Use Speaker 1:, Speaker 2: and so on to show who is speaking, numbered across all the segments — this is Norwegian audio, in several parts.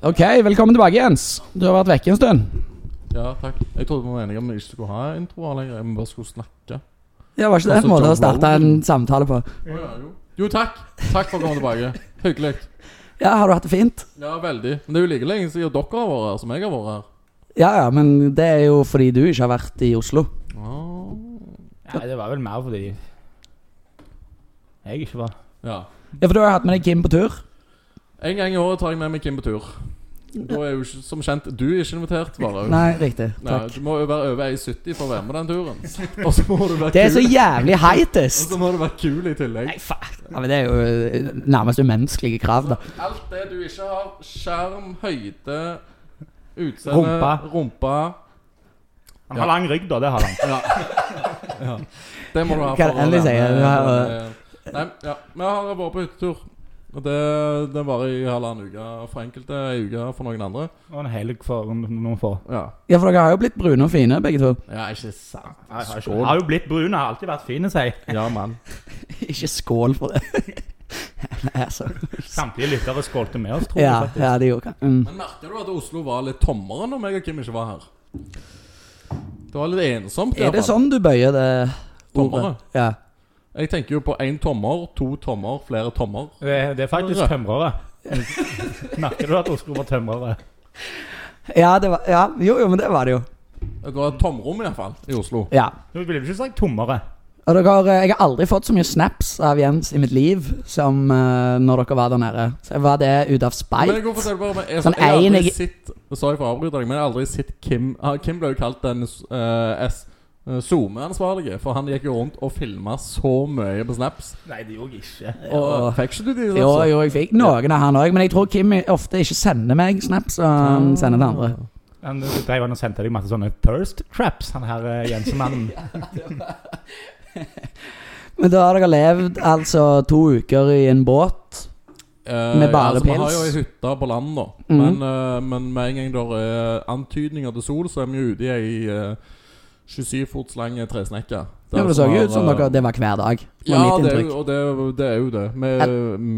Speaker 1: Ok, velkommen tilbake, Jens. Du har vært vekke en stund.
Speaker 2: Ja, takk. Jeg trodde vi var enige om vi ikke skulle ha introer lenger. Vi bare skulle snakke.
Speaker 3: Ja, var ikke det
Speaker 2: Altså,
Speaker 3: en måte
Speaker 2: Joe
Speaker 3: å starte en samtale på?
Speaker 2: Jo, takk. Takk for å komme tilbake. Hyggelig.
Speaker 3: Ja, har du hatt det fint?
Speaker 2: Ja, veldig. Men det er jo like lenge siden dere har vært her som jeg har vært her.
Speaker 3: Ja, ja, men det er jo fordi du ikke har vært i Oslo.
Speaker 2: Ah.
Speaker 4: Nei, det var vel mer fordi jeg ikke var
Speaker 2: Ja.
Speaker 3: Ja, for du har jo hatt med deg Kim på tur.
Speaker 2: En gang i året tar jeg med meg Kim på tur. Da er jo ikke, som kjent du er ikke invitert, bare.
Speaker 3: Nei, riktig.
Speaker 2: Nei,
Speaker 3: Takk.
Speaker 2: du må jo være over 1,70 for å være med den turen. Og så må du være
Speaker 3: Det er så
Speaker 2: kul,
Speaker 3: jævlig
Speaker 2: og
Speaker 3: heitest!
Speaker 2: så må du være kul i tillegg.
Speaker 3: Nei, faen. Ja, men det er jo eh, nærmest umenneskelige krav, da.
Speaker 2: Alt det du ikke har Skjerm, høyde, utseende
Speaker 4: Rumpa.
Speaker 2: rumpa
Speaker 5: Han har lang rygg, da. Det har han.
Speaker 2: Ja. ja. Det må du ha
Speaker 3: Hva er det endelig sier?
Speaker 2: med-
Speaker 3: Du
Speaker 2: eh,
Speaker 3: har-
Speaker 2: Nei, ja. Vi har vært på hyttetur. Og det, det varer i halvannen uke for enkelte, ei uke for noen andre.
Speaker 4: Og en helg for noen få.
Speaker 2: Ja,
Speaker 3: Ja, for dere har jo blitt brune og fine, begge to.
Speaker 2: ja ikke sant.
Speaker 5: Han har jo blitt brun og har alltid vært fin, sier jeg.
Speaker 2: Ja, mann.
Speaker 3: Ikke skål for det. Nei, altså.
Speaker 5: Samtlige lyttere skålte med oss, tror jeg.
Speaker 3: Ja,
Speaker 5: faktisk.
Speaker 3: ja, det gjorde jeg. Mm.
Speaker 2: Men merker du at Oslo var litt tommere når meg og Kim ikke var her? Det var litt ensomt. i
Speaker 3: Er
Speaker 2: hvert
Speaker 3: det
Speaker 2: fall.
Speaker 3: sånn du bøyer det ordet?
Speaker 2: Tommere.
Speaker 3: Ja.
Speaker 2: Jeg tenker jo på én tommer, to tommer, flere tommer.
Speaker 4: Det, det er faktisk
Speaker 2: Rød.
Speaker 4: tømrere. Merker du at Oslo var tømrere?
Speaker 3: Ja, det var, ja, jo, jo, men det var det jo.
Speaker 2: Det var et tomrom i hvert fall i Oslo.
Speaker 3: Ja.
Speaker 5: Du ville ikke sagt tommere.
Speaker 3: Og dere, har- eh, jeg har aldri fått så mye snaps av Jens i mitt liv som eh, når dere var der nede. Så var det ut av
Speaker 2: Men jeg,
Speaker 3: spite?
Speaker 2: går for å si det bare, men jeg,
Speaker 3: Sånn
Speaker 2: jeg har
Speaker 3: en
Speaker 2: aldri
Speaker 3: jeg-
Speaker 2: sett Sorry for å avbryte deg, men jeg har aldri sett Kim ah, Kim ble jo kalt den eh, S- eh, SoMe-ansvarlige, for han gikk jo rundt og filma så mye på snaps.
Speaker 5: Nei, det gjorde jeg ikke.
Speaker 2: Og
Speaker 3: Jo.
Speaker 2: fikk ikke du de
Speaker 3: Jo, jo, jeg fikk noen av han òg, men jeg tror Kim ofte ikke sender meg snaps, og
Speaker 2: Ah.
Speaker 3: han sender til andre.
Speaker 5: Han drev han og sendte deg masse sånne thirst traps, han her eh, Jensen-mannen.
Speaker 3: Men da har dere levd altså to uker i en båt.
Speaker 2: Eh,
Speaker 3: Med bare
Speaker 2: altså, Vi har
Speaker 3: pels.
Speaker 2: jo ei hytte på land, da.
Speaker 3: Mhm.
Speaker 2: Men, eh, men med en gang det er antydninger til sol, så er vi jo ute i ei eh, 27 fots lang tresnekke. Der
Speaker 3: Ja, men Det så
Speaker 2: som
Speaker 3: jo
Speaker 2: har,
Speaker 3: ut som
Speaker 2: eh,
Speaker 3: dere, det var hver dag. var
Speaker 2: Ja,
Speaker 3: mitt
Speaker 2: det er,
Speaker 3: inntrykk.
Speaker 2: jo- og det, er jo- det er jo det. Vi,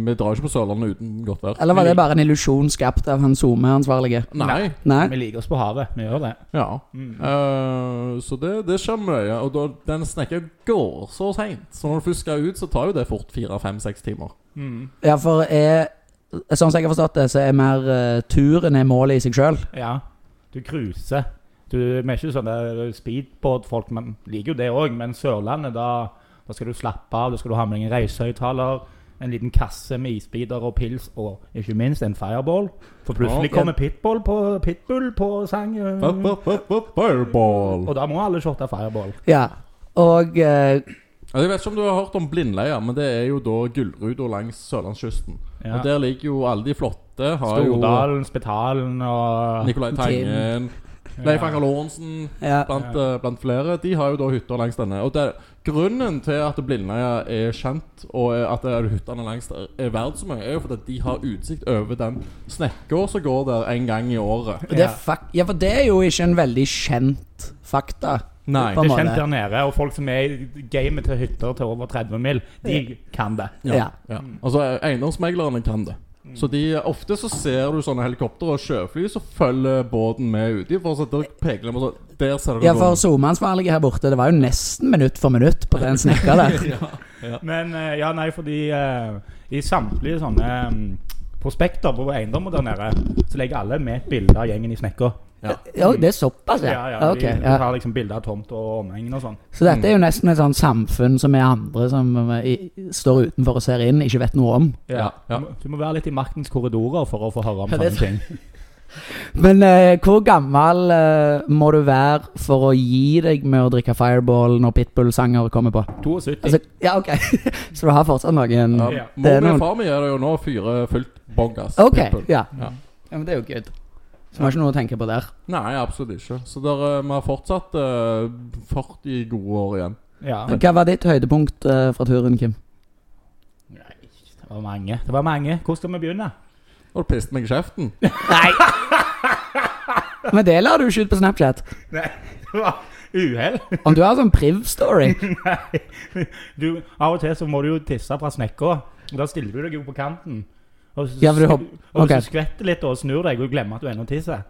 Speaker 2: vi drar jo ikke på Sørlandet uten godt vær.
Speaker 3: Eller var det bare en illusjon skapt av han SoMe-ansvarlige?
Speaker 2: Nei.
Speaker 3: Nei?
Speaker 5: Vi liker oss på havet. Vi gjør det.
Speaker 2: Ja.
Speaker 5: Mm.
Speaker 2: Eh, så det, det skjer mye. Og da, den snekka går så seint. Så når du først skal ut, så tar jo det fort fire-fem-seks timer.
Speaker 5: Mm.
Speaker 3: Ja, for er Sånn som jeg har forstått det, så er mer eh, turen er målet i seg sjøl.
Speaker 5: Ja. Du cruiser. Du, vi er ikke sånne speedbåtfolk, men liker jo det òg. Men Sørlandet, da, da skal du slappe av. Da skal du ha med deg en reisehøyttaler, en liten kasse med isbiter og pils, og ikke minst en fireball. For plutselig
Speaker 2: Ja.
Speaker 5: kommer pitbull på, pitbull på sang. eh,
Speaker 2: Fireball!
Speaker 5: Og da må alle shotte fireball.
Speaker 3: Ja. Og eh,
Speaker 2: Jeg vet ikke om du har hørt om blindleia, men det er jo da Gullruta langs sørlandskysten.
Speaker 5: Ja.
Speaker 2: Og der ligger jo alle de flotte. Har jo
Speaker 5: Stordalen, Spetalen og
Speaker 2: Nicolai Tangen, Leif Anger Lorentzen
Speaker 3: ja.
Speaker 2: blant, eh, blant flere. De har jo da hytter langs denne. Og det, grunnen til at Blindleia er kjent, og er- at det er hyttene langs der er verdt så mye, er jo fordi at de har utsikt over den snekka som går der en gang i året.
Speaker 3: Og Det er fak ja, for det er jo ikke en veldig kjent fakta.
Speaker 2: Nei.
Speaker 3: På en
Speaker 5: Det er
Speaker 3: måte.
Speaker 5: kjent der nede, og folk som er i gamet til hytter til over 30 mil, de kan det.
Speaker 3: Ja.
Speaker 2: Ja. Altså, eiendomsmeglerne kan det. Så de, Ofte så ser du sånne helikoptre og sjøfly som følger båten med uti. For så der peker de på sånn Der ser du
Speaker 3: Ja, for SoMe-ansvarlige her borte, det var jo nesten minutt for minutt på den snekka der.
Speaker 5: Men eh, ja, nei, fordi eh, i samtlige sånne mm, prospekter på eiendommer der nede, så legger alle med et bilde av gjengen i snekka.
Speaker 2: Ja.
Speaker 3: Ja, det er såpass, ja. Altså, Ok,
Speaker 5: de, de
Speaker 3: ja.
Speaker 5: tar liksom bilder av tomt og omegn og sånn.
Speaker 3: Så dette er jo nesten et sånt samfunn som vi andre som eh, i, står utenfor og ser inn, ikke vet noe om.
Speaker 2: Ja, ja.
Speaker 5: Du, må, du må være litt i maktens korridorer for å få høre om
Speaker 3: Ja, det
Speaker 5: sånne ting.
Speaker 3: Men eh, hvor gammel eh, må du være for å gi deg med å drikke Fireball når Pitbull-sanger kommer på?
Speaker 5: 72.
Speaker 3: Altså, ja, ok. Så du har fortsatt noen
Speaker 2: Ja,
Speaker 5: Ja.
Speaker 2: Mor
Speaker 3: Det er
Speaker 2: mi
Speaker 3: noen-
Speaker 2: og far mi er det jo nå fyrer fullt bongas.
Speaker 3: Ok,
Speaker 2: pitbull.
Speaker 3: ja.
Speaker 2: Ja.
Speaker 3: ja. Men det er jo good. Så vi har ikke noe å tenke på der.
Speaker 2: Nei, absolutt ikke. Så der, eh, vi har fortsatt eh, 40 gode år igjen.
Speaker 5: ja.
Speaker 3: Hva var ditt høydepunkt eh, fra turen, Kim?
Speaker 5: Nei, det var mange. Det var mange. Hvor skal vi begynne?
Speaker 2: Og du piste meg i kjeften.
Speaker 3: Nei! Men det la du ikke ut på Snapchat.
Speaker 5: Nei, det var uhell.
Speaker 3: Om du har sånn priv-story
Speaker 5: Nei. Du, av og til så må du jo tisse fra snekka. og Da stiller du deg jo på kanten. Og så,
Speaker 3: Ja, for du hopp-
Speaker 5: og
Speaker 3: ok.
Speaker 5: så skvetter litt og snur deg og glemmer at du ennå tisser.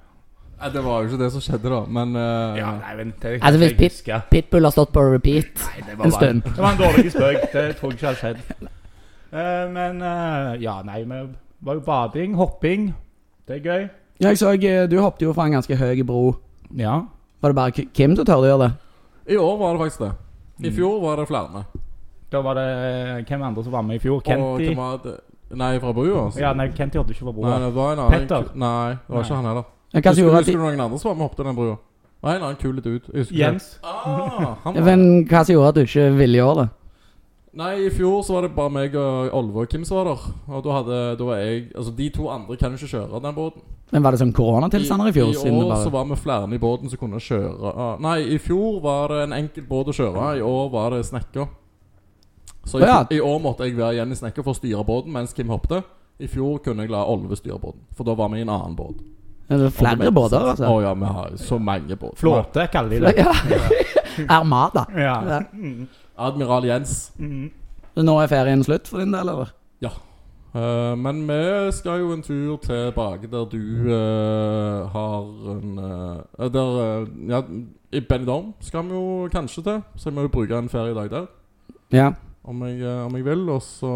Speaker 2: Nei, det var jo ikke det som skjedde, da, men eh,
Speaker 5: Ja, nei, men det,
Speaker 3: Altså, hvis
Speaker 5: jeg
Speaker 3: Pip-
Speaker 5: husker.
Speaker 3: Pitbull har stått på repeat
Speaker 5: Nei, det var
Speaker 3: en
Speaker 5: bare-
Speaker 3: stund.
Speaker 5: Det var en dårlig spøk. Det tror jeg ikke hadde skjedd. Eh, men eh, ja, nei, vi var jo bading, hopping. Det er gøy.
Speaker 3: Ja, jeg så eh, du hoppet jo fra en ganske høy bro.
Speaker 5: Ja.
Speaker 3: Var det bare K- Kim som tørde å gjøre det?
Speaker 2: I år var det faktisk det. I
Speaker 5: Mm.
Speaker 2: fjor var det flere.
Speaker 5: Da var det eh, hvem andre som var med i fjor?
Speaker 2: Og
Speaker 5: Kenty?
Speaker 2: hvem var det? Nei, fra Bua. altså.
Speaker 5: Ja, nei, Kenty hadde ikke
Speaker 2: Nei,
Speaker 5: vært bror.
Speaker 2: det var en annen
Speaker 5: Petter?
Speaker 2: Nei, det var ikke
Speaker 5: Nei.
Speaker 2: han heller.
Speaker 3: Ja, Hva som
Speaker 2: Husker,
Speaker 3: gjorde at
Speaker 2: husker
Speaker 3: de,
Speaker 2: du noen andre som var med og hoppet i den brua? Det var en annen kul dude. Jeg Husker
Speaker 5: Jens.
Speaker 2: ikke. Ah, han var
Speaker 3: men, hva som gjorde at du ikke ville gjøre det?
Speaker 2: Nei, i fjor så var det bare meg og Olve og Kim som var der. Og da hadde Da var jeg Altså, de to andre kan ikke kjøre den båten.
Speaker 3: Men var det sånn koronatilstander i fjor?
Speaker 2: I
Speaker 3: siden det
Speaker 2: år så
Speaker 3: bare...
Speaker 2: var vi flere i båten som kunne kjøre ah, Nei, i fjor var det en enkel båt å kjøre. I år var det snekka. Så i,
Speaker 3: Å, ja.
Speaker 2: fj- i år måtte jeg være igjen i snekka for å styre båten mens Kim hoppet. I fjor kunne jeg la Olve styre båten, for da var vi i en annen båt.
Speaker 3: Ja, det var
Speaker 2: Om det
Speaker 3: Flere
Speaker 2: makes
Speaker 3: båter,
Speaker 2: sense. Å
Speaker 3: altså?
Speaker 2: ja, vi har så mange båter.
Speaker 5: Flåte, kaller de det.
Speaker 3: Ja. Armada.
Speaker 5: Ja. Mm.
Speaker 2: Admiral Jens.
Speaker 3: Så Nå er ferien slutt for din del, eller?
Speaker 2: Eh, men vi skal jo en tur tilbake der du eh, har en eh, Der eh, Ja, i Benidorm skal vi jo kanskje til, så jeg må jo bruke en feriedag der.
Speaker 3: Ja.
Speaker 2: Om jeg, eh, om jeg vil, og så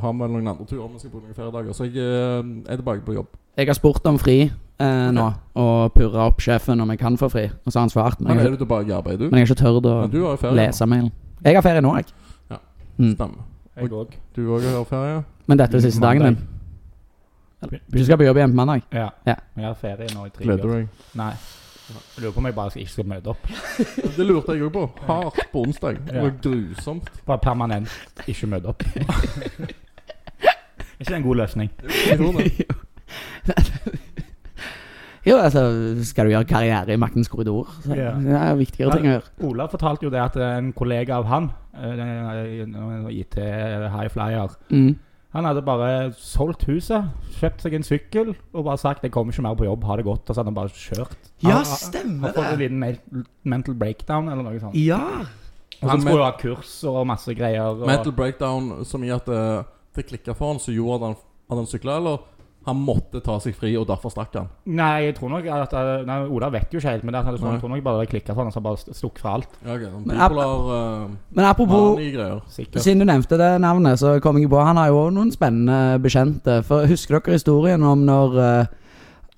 Speaker 2: har vi noen andre turer vi skal bruke noen feriedager. Så jeg eh, er tilbake på jobb.
Speaker 3: Jeg har spurt om fri eh, nå, og purra opp sjefen om jeg kan få fri. Og så har han svart, men
Speaker 2: Men
Speaker 3: jeg,
Speaker 2: er du tilbake i arbeid, du?
Speaker 3: men jeg har ikke tørt å
Speaker 2: Men du har jo ferie.
Speaker 3: lese mailen. Jeg har ferie nå, jeg.
Speaker 2: Ja.
Speaker 3: Mm.
Speaker 2: Stemmer.
Speaker 5: Jeg òg.
Speaker 2: Du òg har ferie?
Speaker 3: Men dette er siste dagen din. Eller, Du skal på jobb igjen på mandag.
Speaker 5: Ja.
Speaker 3: Ja.
Speaker 5: Jeg har ferie nå i tre
Speaker 2: Gleder
Speaker 5: uker.
Speaker 2: du deg?
Speaker 5: Nei. Jeg lurer på om jeg bare ikke skal møte opp.
Speaker 2: Det lurte jeg òg på. Hardt på onsdag. Det var grusomt.
Speaker 5: Bare permanent ikke møte opp. ikke det en god løsning.
Speaker 2: Jeg tror det.
Speaker 3: Jo, altså, skal du gjøre karriere i maktens korridor? Så,
Speaker 5: Ja.
Speaker 3: Det er viktigere ting å gjøre.
Speaker 5: Ola fortalte jo det at en kollega av han, eh, en IT High Flyer
Speaker 3: Mm.
Speaker 5: eh, Han hadde bare solgt huset, kjøpt seg en sykkel og bare sagt 'jeg kommer ikke mer på jobb, ha det godt'. Og så hadde han bare kjørt.
Speaker 3: Ja,
Speaker 5: Han- Han
Speaker 3: stemmer
Speaker 5: har fått
Speaker 3: det!
Speaker 5: en liten me- mental breakdown eller noe sånt.
Speaker 3: Ja!
Speaker 5: Og så
Speaker 2: Han
Speaker 5: skulle jo ha kurs og masse greier. Og
Speaker 2: Mental breakdown som i at eh, det klikka for han så gjorde at han, at han sykla, eller han måtte ta seg fri, og derfor stakk han.
Speaker 5: Nei, jeg tror nok at eh, nei, Ola vet jo ikke helt, men det er at han
Speaker 2: Nei.
Speaker 5: jeg tror nok bare det klikka for han, og så han bare st- stukket fra alt.
Speaker 2: Ja, okay.
Speaker 3: Men
Speaker 2: Bipolar eh,
Speaker 3: Men apropos
Speaker 2: mani-greier.
Speaker 5: Sikkert.
Speaker 3: Siden du nevnte det navnet, så kom jeg på Han har jo også noen spennende bekjente. For Husker dere historien om når eh,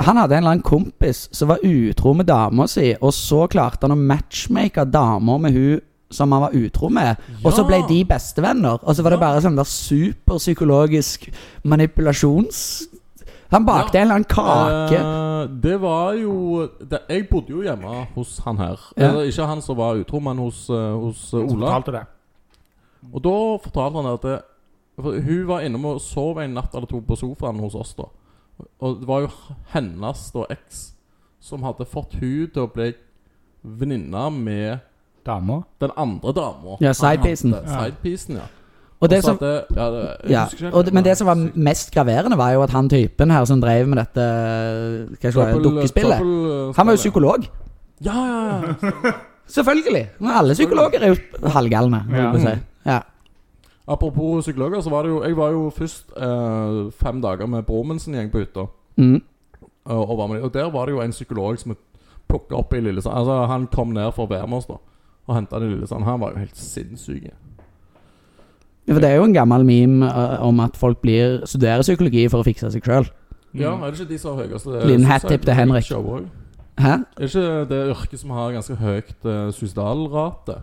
Speaker 3: han hadde en eller annen kompis som var utro med dama si, og så klarte han å matchmake dama med hun som han var utro med. Og så
Speaker 2: Ja.
Speaker 3: ble de bestevenner. Og så var det
Speaker 2: Ja.
Speaker 3: bare sånn der superpsykologisk manipulasjons... Han bakte en eller annen kake.
Speaker 2: Eh, det var jo det, Jeg bodde jo hjemme hos han her.
Speaker 3: Ja.
Speaker 2: Eller ikke han som var utro, men hos, eh, hos eh,
Speaker 5: Så
Speaker 2: Ola.
Speaker 5: fortalte det.
Speaker 2: Og da fortalte han at det, for Hun var innom og sov en natt eller to på sofaen hos oss. da Og det var jo hennes da eks som hadde fått hun til å bli venninne med
Speaker 5: Dama.
Speaker 2: den andre dama.
Speaker 3: Ja, sidepiecen.
Speaker 2: Han hadde Sidepiecen, ja.
Speaker 3: Og det som
Speaker 2: så at det, ja, det, jeg
Speaker 3: ja,
Speaker 2: husker ikke helt
Speaker 3: og det, men det som var
Speaker 2: Sykt.
Speaker 3: mest graverende, var jo at han typen her som drev med dette hva skal jeg,
Speaker 2: Dobbel-
Speaker 3: dukkespillet
Speaker 2: dobbel-
Speaker 3: Han var jo
Speaker 2: spill,
Speaker 3: psykolog.
Speaker 2: eh, Ja, ja, ja.
Speaker 3: Selvfølgelig. Men alle psykologer er jo halvgalne. Ja.
Speaker 5: Ja.
Speaker 3: Si. ja.
Speaker 2: Apropos psykologer, så var det jo Jeg var jo først eh, fem dager med broren min sin gjeng på hytta.
Speaker 3: Mm.
Speaker 2: eh, og, var med, dem. og der var det jo en psykolog som plukka opp i Lillesand. Altså, han kom ned for å være med oss, da. Og henta det i Lillesand. Han var jo helt sinnssyk.
Speaker 3: Ja, For det er jo en gammel meme eh, om at folk blir, studerer psykologi for å fikse seg sjøl.
Speaker 2: Ja,
Speaker 5: Mm.
Speaker 2: er det ikke de som har høyest eh,
Speaker 3: Liten hat tip til
Speaker 2: suicide
Speaker 3: Henrik.
Speaker 2: show også?
Speaker 3: Hæ?
Speaker 2: Er det ikke det yrket som har ganske høyt eh, suicidalrate?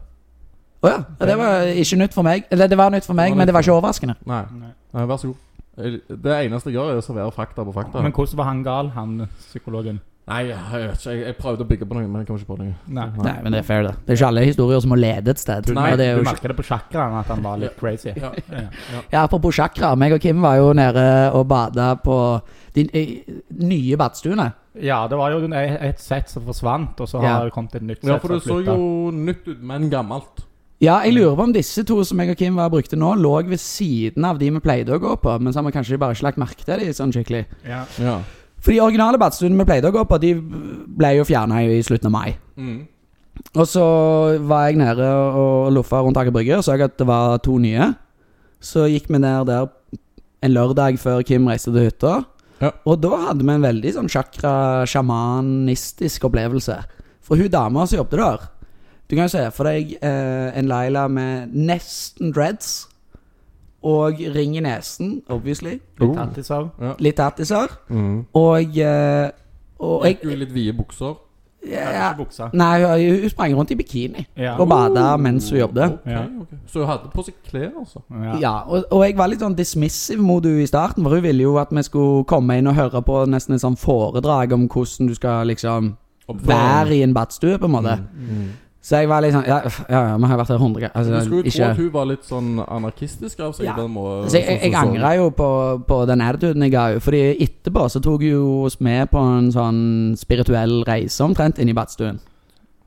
Speaker 3: Å ja. ja. Det var ikke nytt for meg. Eller det var nytt for meg,
Speaker 2: Det var
Speaker 3: men
Speaker 2: nytt
Speaker 3: det var ikke overraskende.
Speaker 2: Nei.
Speaker 5: Nei.
Speaker 2: Nei, vær så god. Jeg- Det eneste jeg gjør, er å servere fakta på fakta.
Speaker 5: Men hvordan var han gal, han psykologen?
Speaker 2: Nei, jeg vet ikke. Jeg, jeg prøvde å bygge på noe, men jeg kom ikke på noe.
Speaker 5: Nei.
Speaker 3: Nei, men det er fair, det. Det er ikke alle historier som må lede et sted.
Speaker 2: Nei,
Speaker 3: og det er
Speaker 5: Du
Speaker 3: jo ikke
Speaker 5: merker det på sjakraen at han var litt crazy.
Speaker 2: Ja.
Speaker 5: Ja.
Speaker 3: Ja, apropos chakra. Meg og Kim var jo nede og bada på de eh, nye badstuene.
Speaker 5: Ja, det var jo en- et sett som forsvant, og så har
Speaker 3: Ja.
Speaker 5: det kommet et nytt sett
Speaker 2: Ja, for det
Speaker 5: som
Speaker 2: så
Speaker 5: flytta.
Speaker 2: jo nytt ut, men gammelt.
Speaker 3: Ja, jeg lurer på om disse to som jeg og Kim var brukte nå, lå ved siden av de vi pleide å gå på, men så har vi kanskje bare ikke lagt merke til de sånn skikkelig.
Speaker 5: Ja.
Speaker 2: Ja.
Speaker 3: For de originale badstuene vi pleide å gå på, de ble jo fjerna i slutten av mai.
Speaker 2: Mm.
Speaker 3: Og så var jeg nede og loffa rundt Aker Brygge og så jeg at det var to nye. Så gikk vi ned der en lørdag før Kim reiste til hytta.
Speaker 2: Ja.
Speaker 3: Og da hadde vi en veldig sånn sjakra-sjamanistisk opplevelse. For hun dama som jobbet der Du kan jo se for deg eh, en Laila med nesten dreads og ring i nesen, obviously.
Speaker 2: Oh.
Speaker 5: Litt tattiser.
Speaker 3: Litt tattiser.
Speaker 2: Mm.
Speaker 3: Og, eh, og
Speaker 2: Gikk
Speaker 3: jeg
Speaker 2: du i litt vide bukser?
Speaker 3: ja,
Speaker 5: Ikke buksa.
Speaker 3: Nei, hun, hun sprang rundt i bikini
Speaker 5: Ja.
Speaker 3: og bada mens hun jobbet.
Speaker 2: Ok, ok. Så hun hadde på seg klær, altså?
Speaker 5: Ja.
Speaker 3: Ja, og, og jeg var litt sånn dismissiv mot henne i starten, for hun ville jo at vi skulle komme inn og høre på nesten et sånn foredrag om hvordan du skal liksom være i en badstue, på en måte.
Speaker 2: Mm.
Speaker 3: Så jeg var litt sånn Ja, ja, ja, vi har vært her hundre
Speaker 2: Du
Speaker 3: ganger.
Speaker 2: skulle jo
Speaker 3: Altså,
Speaker 2: tro at
Speaker 3: ikke
Speaker 2: hun Sånn, var litt sånn anarkistisk av seg.
Speaker 3: Ja.
Speaker 2: i den måten.
Speaker 3: så jeg, jeg, jeg angra jo på, på den attituden jeg ga henne. Fordi etterpå så tok hun jo oss med på en sånn spirituell reise omtrent inn i badstuen.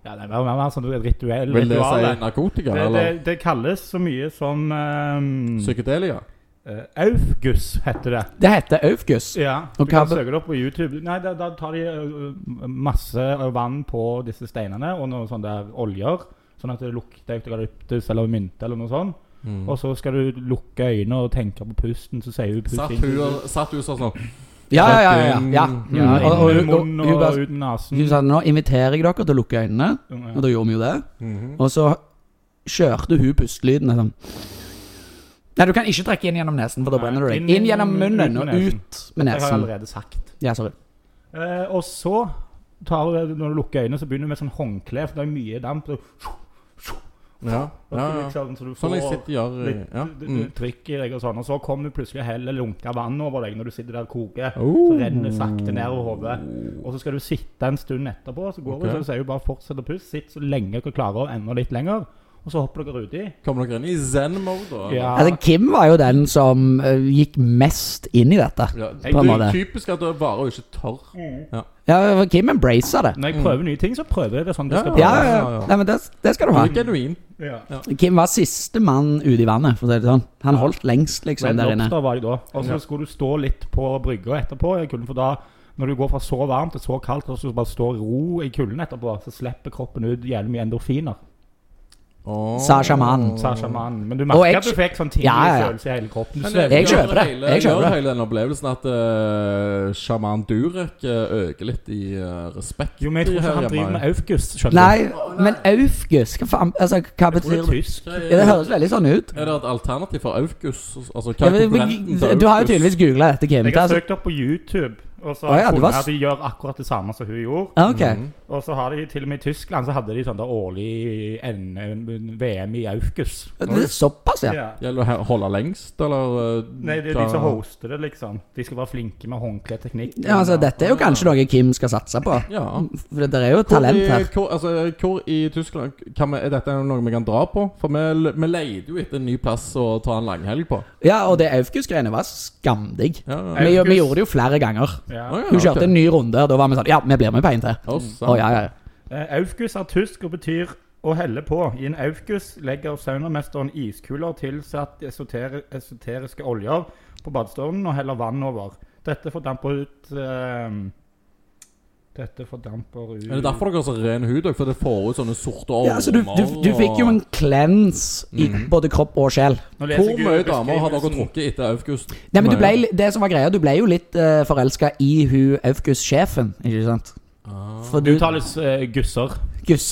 Speaker 5: Ja, det var mer mer sånn et rituell.
Speaker 2: Vil det
Speaker 5: ritual,
Speaker 2: si
Speaker 5: det.
Speaker 2: narkotika,
Speaker 5: Det, det,
Speaker 2: eller?
Speaker 5: det kalles så mye som um,
Speaker 2: Psykedelia?
Speaker 5: eh, Aufguss heter det.
Speaker 3: Det heter Aufgus.
Speaker 5: Ja, du
Speaker 3: Og hva
Speaker 5: kan
Speaker 3: be-
Speaker 5: søke det opp på YouTube. Nei, da, da tar de eh, masse vann på disse steinene og noen sånne der oljer. Sånn at det lukter eukalyptus eller mynte eller noe sånt.
Speaker 2: Mm.
Speaker 5: Og så skal du lukke øynene og tenke på pusten, så sier hun
Speaker 2: Satt
Speaker 5: pusten.
Speaker 2: hun og- satt hun sånn sånn
Speaker 3: Ja, ja, ja. ja, ja.
Speaker 5: Ja,
Speaker 3: Mm. Og- og-
Speaker 5: inn i
Speaker 3: og- og-
Speaker 5: munnen
Speaker 3: hun
Speaker 5: og,
Speaker 3: bare-
Speaker 5: ut med nasen.
Speaker 3: Hun sa nå inviterer jeg dere til å lukke øynene, og
Speaker 5: Ja.
Speaker 3: da gjorde vi jo det.
Speaker 2: mhm.
Speaker 3: Og så kjørte hun pustelydene sånn Nei, du kan ikke trekke inn gjennom nesen, for da
Speaker 5: Nei,
Speaker 3: brenner du deg.
Speaker 5: inn-
Speaker 3: Inn gjennom
Speaker 5: ut med
Speaker 3: munnen og
Speaker 5: nesen.
Speaker 3: ut med
Speaker 5: Det har jeg
Speaker 3: nesen.
Speaker 5: allerede sagt.
Speaker 3: Ja, sorry.
Speaker 5: Eh, og så tar du, når du lukker øynene, så begynner du med sånn håndkle, for det er mye damp. Så,
Speaker 2: Ja,
Speaker 5: så
Speaker 2: ja, ja.
Speaker 5: Liksom, så du får
Speaker 2: Sånn jeg sitter og gjør i-
Speaker 5: litt
Speaker 2: ja.
Speaker 5: d- d-
Speaker 2: mm.
Speaker 5: trykk i deg og sånn. Og så kommer du plutselig og heller lunka vann over deg når du sitter der og koker.
Speaker 2: Oh.
Speaker 5: Så renner det sakte nedover hodet. Og så skal du sitte en stund etterpå, så går
Speaker 2: Ok.
Speaker 5: du, så sier du bare fortsett å puste. Sitt så lenge dere klarer, og enda litt lenger. Og så hopper dere uti.
Speaker 2: Kommer dere inn i zen-mode? da, eller?
Speaker 5: Ja.
Speaker 3: Altså, Kim var jo den som eh, gikk mest inn i dette.
Speaker 2: Ja,
Speaker 3: På en
Speaker 2: det
Speaker 3: måte.
Speaker 2: er typisk at det varer jo ikke tørr.
Speaker 5: Mm.
Speaker 3: Ja, for Kim embracet det.
Speaker 5: Når jeg prøver nye ting, så prøver jeg det sånn det
Speaker 2: Ja,
Speaker 5: skal
Speaker 3: Ja, ja,
Speaker 5: prøves.
Speaker 2: Ja,
Speaker 3: ja.
Speaker 2: ja.
Speaker 3: Nei, men det, det skal du ha.
Speaker 2: Det er genuint.
Speaker 5: Ja.
Speaker 3: Kim var siste mann ute i vannet, for å si det sånn. Han holdt lengst, liksom,
Speaker 5: Red
Speaker 3: der inne.
Speaker 5: Lobster var jeg da. Og så
Speaker 2: Ja.
Speaker 5: skulle du stå litt på brygga etterpå. i kulden, for da, når du går fra så varmt til så kaldt, og så bare stå i ro i kulden etterpå, så slipper kroppen ut jævlig mye endorfiner.
Speaker 2: Oh.
Speaker 3: Sa sjamanen.
Speaker 5: Sa sjamanen. Men du
Speaker 3: Mm. Og jeg-
Speaker 5: merker at du fikk sånn tidlig
Speaker 3: Ja, ja, ja.
Speaker 5: følelse i hele kroppen. Du
Speaker 2: Men
Speaker 5: svever.
Speaker 3: Jeg kjøper det.
Speaker 2: Hele,
Speaker 3: Jeg kjøper
Speaker 2: gjør
Speaker 3: det.
Speaker 2: hele den opplevelsen at eh, sjaman Durek eh, øker litt i eh, respekt.
Speaker 5: Jo, men jeg tror ikke han driver med Aufgus. skjønner du.
Speaker 3: Nei, men Aufgus, hva faen Altså, hva
Speaker 5: Jeg tror
Speaker 3: betyr
Speaker 5: det
Speaker 3: det?
Speaker 5: er tysk.
Speaker 3: Ja, det høres veldig sånn ut.
Speaker 2: Er det et alternativ for Aukus? Altså, hva
Speaker 3: Ja,
Speaker 2: er
Speaker 3: men-
Speaker 2: konkurrenten til
Speaker 3: Du har jo
Speaker 2: Aukus?
Speaker 3: tydeligvis googla dette, Kim.
Speaker 5: Jeg
Speaker 3: Det er
Speaker 5: har
Speaker 3: så-
Speaker 5: søkt opp på YouTube, og så
Speaker 3: Å,
Speaker 5: har
Speaker 3: ja,
Speaker 5: jeg
Speaker 3: det var
Speaker 5: funnet
Speaker 3: s-
Speaker 5: at de gjør akkurat det samme som hun gjorde.
Speaker 3: Ja, Ah, Ok.
Speaker 2: Mhm.
Speaker 5: Og så har de til og med i Tyskland så hadde de sånn der årlig NM VM i Aufgus.
Speaker 3: Det er såpass, ja.
Speaker 5: Ja.
Speaker 2: Gjelder det å holde lengst, eller eh,
Speaker 5: Nei, det er
Speaker 2: hva-
Speaker 5: de som hoster det, liksom. De skal være flinke med håndkleteknikk.
Speaker 3: Ja, altså, dette er jo kanskje noe Kim skal satse på.
Speaker 2: Ja.
Speaker 3: For det er jo
Speaker 2: Hvor
Speaker 3: talent
Speaker 2: i-
Speaker 3: her.
Speaker 2: Hvor, altså, hvor i Tyskland kan vi, Er dette noe vi kan dra på? For vi, vi leter jo etter en ny plass å ta en langhelg på.
Speaker 3: Ja, og det Aufgus-greiene var skamdigg.
Speaker 2: Ja, ja.
Speaker 3: Vi,
Speaker 5: Aufgus.
Speaker 3: vi gjorde det jo flere ganger.
Speaker 5: Ja.
Speaker 2: Å, ja,
Speaker 3: Hun kjørte
Speaker 2: ok. Sånn.
Speaker 3: en ny runde, og da var vi sånn Ja, vi blir med på en til.
Speaker 2: Å, sant.
Speaker 3: Å, ja, ja.
Speaker 5: Eh, Aufgus er tysk og betyr å helle på. I en aufgus legger saunamesteren iskuler tilsatt esotere, esoteriske oljer på badestånden og heller vann over. Dette fordamper ut eh, Dette fordamper ut
Speaker 2: Er det derfor dere har så ren hud? dere? For det får ut sånne sorte ormer?
Speaker 3: ja altså, du, du, du fikk jo en cleanse i
Speaker 2: Mhm.
Speaker 3: både kropp og sjel.
Speaker 5: Nå leser
Speaker 2: Hvor
Speaker 5: jeg
Speaker 2: mye
Speaker 5: ut
Speaker 2: damer har dere
Speaker 5: beskrivelsen.
Speaker 2: trukket etter August?
Speaker 3: Nei, men du ble, li- det som var greia, du ble jo litt uh, forelska i hun Aufgus-sjefen, ikke sant?
Speaker 2: Ah.
Speaker 3: For
Speaker 5: Du
Speaker 3: du,
Speaker 5: uttales eh, gusser.
Speaker 3: Guss,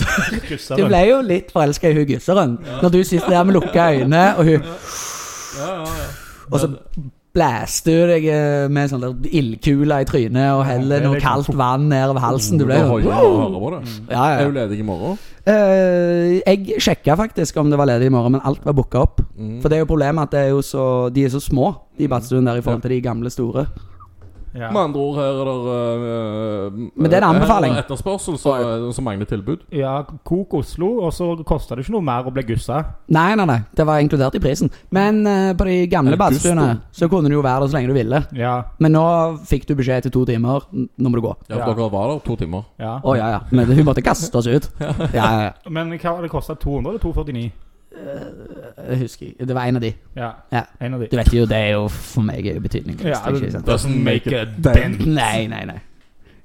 Speaker 5: Gusser.
Speaker 3: du ble jo litt forelska i hun gusseren. Når du sitter der med lukka øyne, og hun
Speaker 2: Ja, ja, ja.
Speaker 3: Og så blæste du deg eh, med en sånn der ildkule i trynet og heller noe kaldt vann nedover halsen. Du ble
Speaker 2: Da
Speaker 3: jo
Speaker 2: hoier jeg og hører på det.
Speaker 3: ja, ja,
Speaker 2: Er du
Speaker 3: ja.
Speaker 2: ledig i morgen?
Speaker 3: Eh, Jeg sjekka faktisk om det var ledig i morgen, men alt var booka opp.
Speaker 2: Mm.
Speaker 3: For det er jo problemet at det er jo så, de er så små, de badstuene der, i forhold til de gamle store.
Speaker 5: Ja.
Speaker 2: Med andre ord, her er det øh,
Speaker 3: Men det er en
Speaker 2: her
Speaker 3: anbefaling.
Speaker 2: det Etterspørsel som som mangler tilbud.
Speaker 5: ja, Kok Oslo, og så koster det ikke noe mer å bli gussa.
Speaker 3: Nei, nei, nei, det var inkludert i prisen. Men eh, på de gamle
Speaker 2: Er det
Speaker 3: badstuene
Speaker 2: gusto?
Speaker 3: så kunne du jo være der så lenge du ville.
Speaker 5: Ja,
Speaker 3: Men nå fikk du beskjed etter to timer. N- Nå må du gå.
Speaker 2: Ja, for
Speaker 5: Ja.
Speaker 2: Dere var der to timer.
Speaker 5: ja.
Speaker 3: Å ja, ja. Men hun måtte kaste oss ut. Ja, ja, ja.
Speaker 5: Men hva har det kosta? 200 eller 249?
Speaker 3: Jeg husker ikke. Det var en av de.
Speaker 5: Ja.
Speaker 3: Ja.
Speaker 5: En av de.
Speaker 3: Du vet jo, det er jo for meg er jo betydningsløst.
Speaker 5: Ja,
Speaker 3: ikke sant?
Speaker 2: Doesn't make a
Speaker 3: Nei, nei, nei.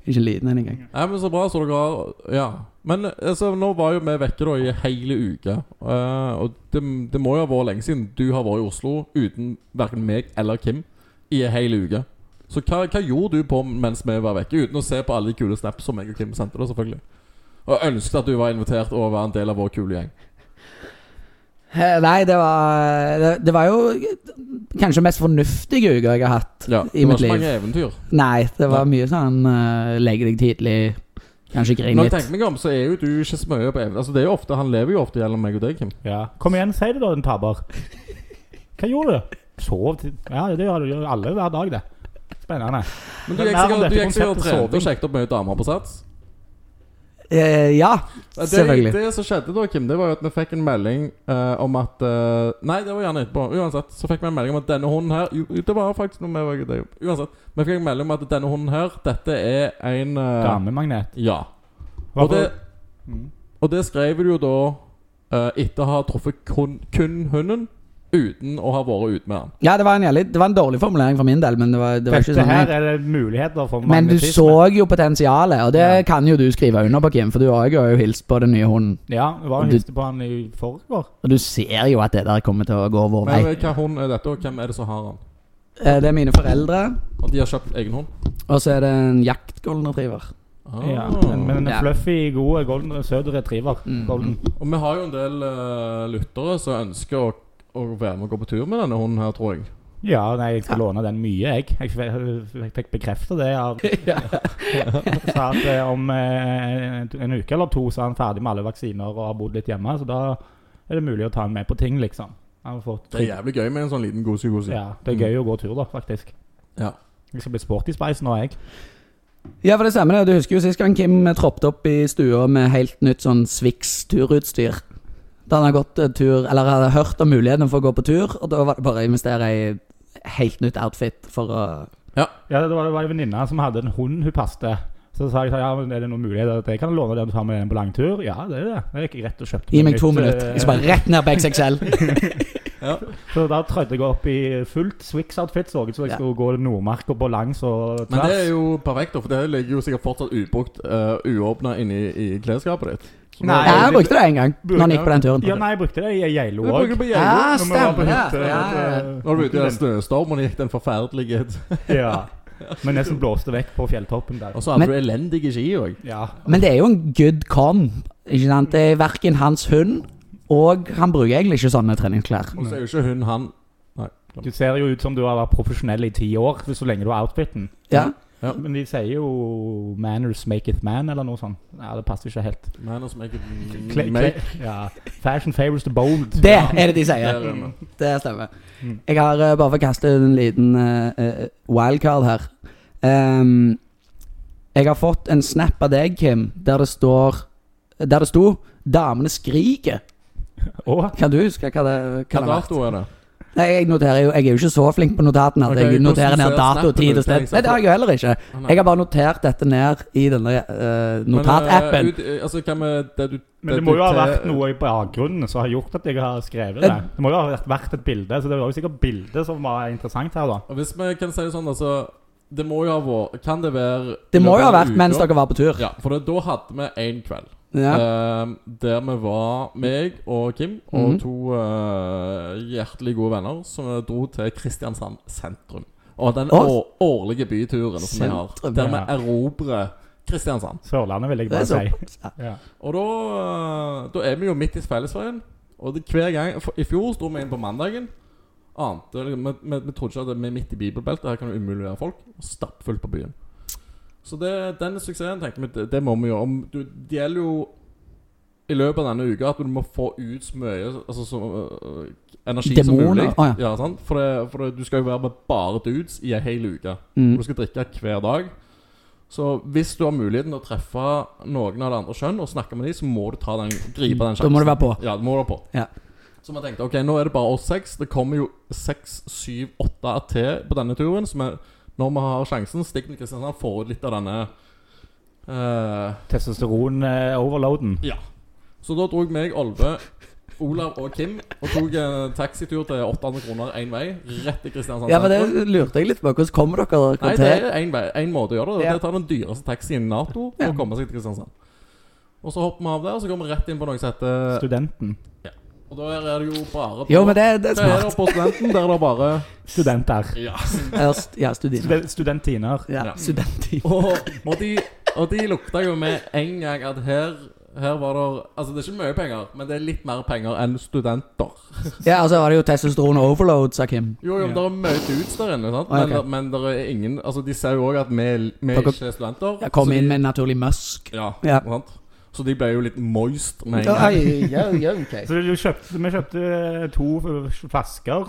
Speaker 3: Ikke lyden en engang.
Speaker 2: Nei, men Så bra. så dere har Ja. Men altså, nå var jo vi vekke da i hele uke. eh, og det, det må jo ha vært lenge siden du har vært i Oslo uten verken meg eller Kim. i en hel uke. Så hva, hva gjorde du på mens vi var vekke, uten å se på alle de kule snaps som jeg og Kim sendte? da selvfølgelig Og ønsket at du var invitert og var en del av vår kule gjeng.
Speaker 3: Eh, Nei, det var Det, det var jo kanskje mest fornuftige uka jeg har hatt.
Speaker 2: Ja,
Speaker 3: I
Speaker 2: det var
Speaker 3: mitt
Speaker 2: ikke
Speaker 3: liv.
Speaker 2: mange eventyr.
Speaker 3: Nei, det var mye sånn eh, Legge deg tidlig, kanskje grine
Speaker 2: Når jeg
Speaker 3: litt.
Speaker 2: tenker meg om, så er jo du ikke så mye på eventyr. Altså, det er jo ofte, han lever jo ofte gjennom meg og deg, Kim.
Speaker 5: Ja. Kom igjen, si det da, din taper. Hva gjorde du? Sov til Ja, det gjør du alle hver dag, det. Spennende.
Speaker 2: Men du
Speaker 5: Men
Speaker 2: gikk
Speaker 5: mer om
Speaker 2: sikkert,
Speaker 5: dette
Speaker 2: du gikk sikkert og
Speaker 5: konseptet
Speaker 2: trente og
Speaker 5: soving.
Speaker 2: sjekket opp mye damer på sats.
Speaker 3: Eh, ja,
Speaker 2: Det,
Speaker 3: Selvfølgelig.
Speaker 2: Det som skjedde da, Kim, det var jo at vi fikk en melding eh, om at eh, Nei, det var gjerne etterpå. Uansett, så fikk vi en melding om at denne hunden her jo, Det var faktisk noe med det jobb. Uansett, vi fikk en melding om at denne hunden her, dette er en eh,
Speaker 5: Damemagnet.
Speaker 2: Ja. Og det,
Speaker 5: Hvorfor- Mm.
Speaker 2: og det skrev du jo da eh, etter å ha truffet kun, kun hunden, uten å ha vært ute med den.
Speaker 3: ja det, var en jævlig, det var en dårlig formulering for min del, men det var, det var ikke
Speaker 5: Dette
Speaker 3: sånn
Speaker 5: her
Speaker 3: jeg-
Speaker 5: er det muligheter for
Speaker 3: Men du
Speaker 5: magnetisme.
Speaker 3: så jo potensialet, og det
Speaker 5: Ja.
Speaker 3: kan jo du skrive under på, Kim, for du har jo også hilst på den nye hunden.
Speaker 5: Ja, vi var
Speaker 3: Og
Speaker 5: og
Speaker 3: du-
Speaker 5: hilste på han i forrige år.
Speaker 3: Og du ser jo at det der kommer til å gå vår vei.
Speaker 2: Men eh, hva hund er dette, og hvem er det som har den?
Speaker 3: Eh, Det er mine foreldre,
Speaker 2: Og de har kjøpt egen hund?
Speaker 3: og så er det en jaktgolden retriever.
Speaker 2: Ah.
Speaker 5: Ja, men, men en
Speaker 3: Ja.
Speaker 5: fluffy, god golden søt retriever.
Speaker 3: Mm.
Speaker 5: Golden.
Speaker 2: Og vi har jo en del eh, lyttere som ønsker å, å være med og gå på tur med denne hunden her, tror jeg.
Speaker 5: Ja, nei, jeg skal låne den mye, jeg. Jeg f- jeg fikk bekrefta det av Sa at eh, om eh, en- en uke eller to så er han ferdig med alle vaksiner og har bodd litt hjemme, så da er det mulig å ta han med på ting, liksom. Han har fått
Speaker 2: Det er jævlig gøy med en sånn liten gosi-gosi.
Speaker 5: ja, det er gøy å gå tur, da, faktisk.
Speaker 2: Ja.
Speaker 5: Jeg skal bli sporty spice nå, jeg.
Speaker 3: Ja, for det stemmer det. Du husker jo sist gang Kim eh, troppet opp i stua med helt nytt sånn Swix turutstyr. Da han hadde gått eh, tur, eller hadde hørt om muligheten for å gå på tur, og da var det bare å investere i helt nytt outfit for å
Speaker 5: Ja, det var, det var en venninne som hadde en hund hun passte. Så sa jeg ja, men er det noen mulighet at jeg kan låne den og ta med den på langtur. Ja, det er det. Da gikk jeg rett og kjøpte
Speaker 3: Gi
Speaker 5: meg
Speaker 3: meg to
Speaker 5: nytt,
Speaker 3: minutter.
Speaker 5: eh,
Speaker 3: Jeg skal bare rett ned på XXL.
Speaker 5: Så da trødde jeg opp i fullt Swix-outfit, så ut som jeg
Speaker 3: Ja.
Speaker 5: skulle gå Nordmarka på langs og
Speaker 2: Men det er
Speaker 5: tvers.
Speaker 2: jo perfekt, da, for det ligger jo sikkert fortsatt ubrukt, uh, uåpna inni i klesskapet ditt. Så nå-
Speaker 5: Nei,
Speaker 3: Ja, jeg brukte det en gang når han gikk på den turen.
Speaker 5: Ja, nei, jeg brukte det i
Speaker 2: Du
Speaker 5: Geilo
Speaker 2: bruker
Speaker 5: òg.
Speaker 2: på eh,
Speaker 3: Ja,
Speaker 2: Geilo.
Speaker 3: Ah, stemmer det. Ja, ja.
Speaker 2: Når du er ute i den snøstormen, gikk den forferdelige
Speaker 5: Ja. Men nesten blåste vekk på fjelltoppen der.
Speaker 2: Og så hadde
Speaker 3: Men-
Speaker 2: du elendige ski òg.
Speaker 5: Ja.
Speaker 3: Men det er jo en good con. Ikke sant? Det er verken hans hund og Han bruker egentlig ikke sånne treningsklær.
Speaker 2: Og så er jo ikke hun han Nei.
Speaker 5: Du ser jo ut som du har vært profesjonell i ti år, så lenge du har outfiten.
Speaker 3: Ja.
Speaker 2: Ja.
Speaker 5: Men de sier jo 'manners maketh man', eller noe sånt. Ja, det passer ikke helt.
Speaker 2: Man is making
Speaker 5: Kle, kle,
Speaker 2: make.
Speaker 5: ja. Fashion favors the bold.
Speaker 3: Det er det de
Speaker 2: Der
Speaker 3: sier.
Speaker 2: er vi.
Speaker 3: Det stemmer.
Speaker 5: Mm.
Speaker 3: Jeg har eh, bare for å kaste en liten eh, eh, wildcard her. Ehm, jeg har fått en snap av deg, Kim, der det står Der det sto 'Damene skriker'.
Speaker 5: Å,
Speaker 3: Kan du huske hva det
Speaker 2: Hva
Speaker 3: kan ha vært?
Speaker 2: dato er det?
Speaker 3: Nei, jeg noterer jo Jeg er jo ikke så flink på notatene at
Speaker 2: Ok,
Speaker 3: jeg
Speaker 2: hvordan
Speaker 3: noterer ned
Speaker 2: ser
Speaker 3: dato,
Speaker 2: snappen
Speaker 3: tid og
Speaker 2: ut?
Speaker 3: sted.
Speaker 2: Jeg ser
Speaker 3: Nei, det har jeg jo heller ikke.
Speaker 2: Å, nei.
Speaker 3: Jeg har bare notert dette ned i denne eh,
Speaker 2: Men, eh,
Speaker 3: notatappen.
Speaker 2: ut- eh, Altså, hva med det du
Speaker 5: Men det
Speaker 2: du
Speaker 5: må jo ha vært
Speaker 2: te-
Speaker 5: noe i bakgrunnen som har gjort at jeg har skrevet det. Det må jo ha vært- vært et bilde, så det var jo sikkert bildet som var interessant her, da.
Speaker 2: Og Hvis vi kan si det sånn, altså Det må jo ha vært Kan det være
Speaker 3: Det må jo ha vært
Speaker 2: uker?
Speaker 3: mens dere var på tur.
Speaker 2: Ja, for det, da hadde vi en kveld
Speaker 3: Ja.
Speaker 2: eh, der vi var meg og Kim og
Speaker 3: Mhm.
Speaker 2: to eh, hjertelig gode venner som vi dro til Kristiansand sentrum. Og den
Speaker 3: Åh.
Speaker 2: å- årlige byturen som vi har,
Speaker 3: Sentrum,
Speaker 2: der vi
Speaker 5: ja.
Speaker 2: erobrer Kristiansand.
Speaker 5: Sørlandet, vil jeg
Speaker 3: Det er
Speaker 5: bare
Speaker 3: så.
Speaker 5: si.
Speaker 2: Og da, eh, da er vi jo midt i fellesferien. Og det, hver gang for, I fjor sto vi inn på mandagen. Ante liksom, vi- Vi vi trodde ikke at vi er midt i bibelbeltet. Her kan det umulig være folk. og Stappfullt på byen. Så det, den suksessen tenkte vi det, det må vi gjøre. Om, du, det gjelder jo i løpet av denne uka at du må få ut så mye altså, så, øh, energi som
Speaker 3: Demoner,
Speaker 2: mulig.
Speaker 3: å ja.
Speaker 2: sant? For, det, for det, du skal jo være med bare dudes i ei hel uke. Og
Speaker 3: Mm.
Speaker 2: du skal drikke hver dag. Så hvis du har muligheten til å treffe noen av det andre kjønn og snakke med dem, så må du ta den, gripe den
Speaker 3: Da må du være på.
Speaker 2: Ja, det må du være på.
Speaker 3: Ja.
Speaker 2: Så vi tenkte ok, nå er det bare oss seks. Det kommer jo seks, syv, åtte til på denne turen. Så vi, når vi har sjansen, stikk til Kristiansand, får ut litt av denne eh,
Speaker 5: Testosteron-overloaden.
Speaker 2: Ja. Så da dro meg, Olve, Olav og Kim og tok en taxitur til 800 kroner én vei, rett til Kristiansand.
Speaker 3: Ja, men
Speaker 2: sentrum.
Speaker 3: det lurte jeg litt på. Hvordan kommer dere
Speaker 2: Nei,
Speaker 3: dere
Speaker 2: det
Speaker 3: til
Speaker 2: er en, vei- en måte å gjøre det. Det er å ta den dyreste taxien i Nato og
Speaker 3: Ja.
Speaker 2: komme seg til Kristiansand. Og så hopper vi av der, og så går vi rett inn på noe som heter
Speaker 5: Studenten.
Speaker 2: Og da er det jo bare på,
Speaker 3: Jo, men det, det er
Speaker 2: Hva er det
Speaker 3: smart.
Speaker 2: på studenten der det bare
Speaker 5: Studenter.
Speaker 2: Ja.
Speaker 3: Erst- Ja, studiner.
Speaker 5: Stud- Studentiner.
Speaker 3: Ja, studentliv.
Speaker 2: Og, og, de, og de lukta jo med en gang at her her var det Altså, det er ikke mye penger, men det er litt mer penger enn studenter.
Speaker 3: Ja, og så var det jo testosteron overload, sa Kim.
Speaker 2: Jo, jo, det er mye dudes der inne, sant?
Speaker 3: Ah, ok.
Speaker 2: men, der- men det er ingen Altså, de ser jo òg at vi, vi er
Speaker 3: Dere-
Speaker 2: ikke studenter.
Speaker 3: Jeg kom
Speaker 2: så de-
Speaker 3: inn med en naturlig musk.
Speaker 2: Ja,
Speaker 3: Ja.
Speaker 2: sant? Så de ble jo litt moist med en gang.
Speaker 3: Oi, ja, ja, ok.
Speaker 5: Så du kjøpte, vi kjøpte eh, to flasker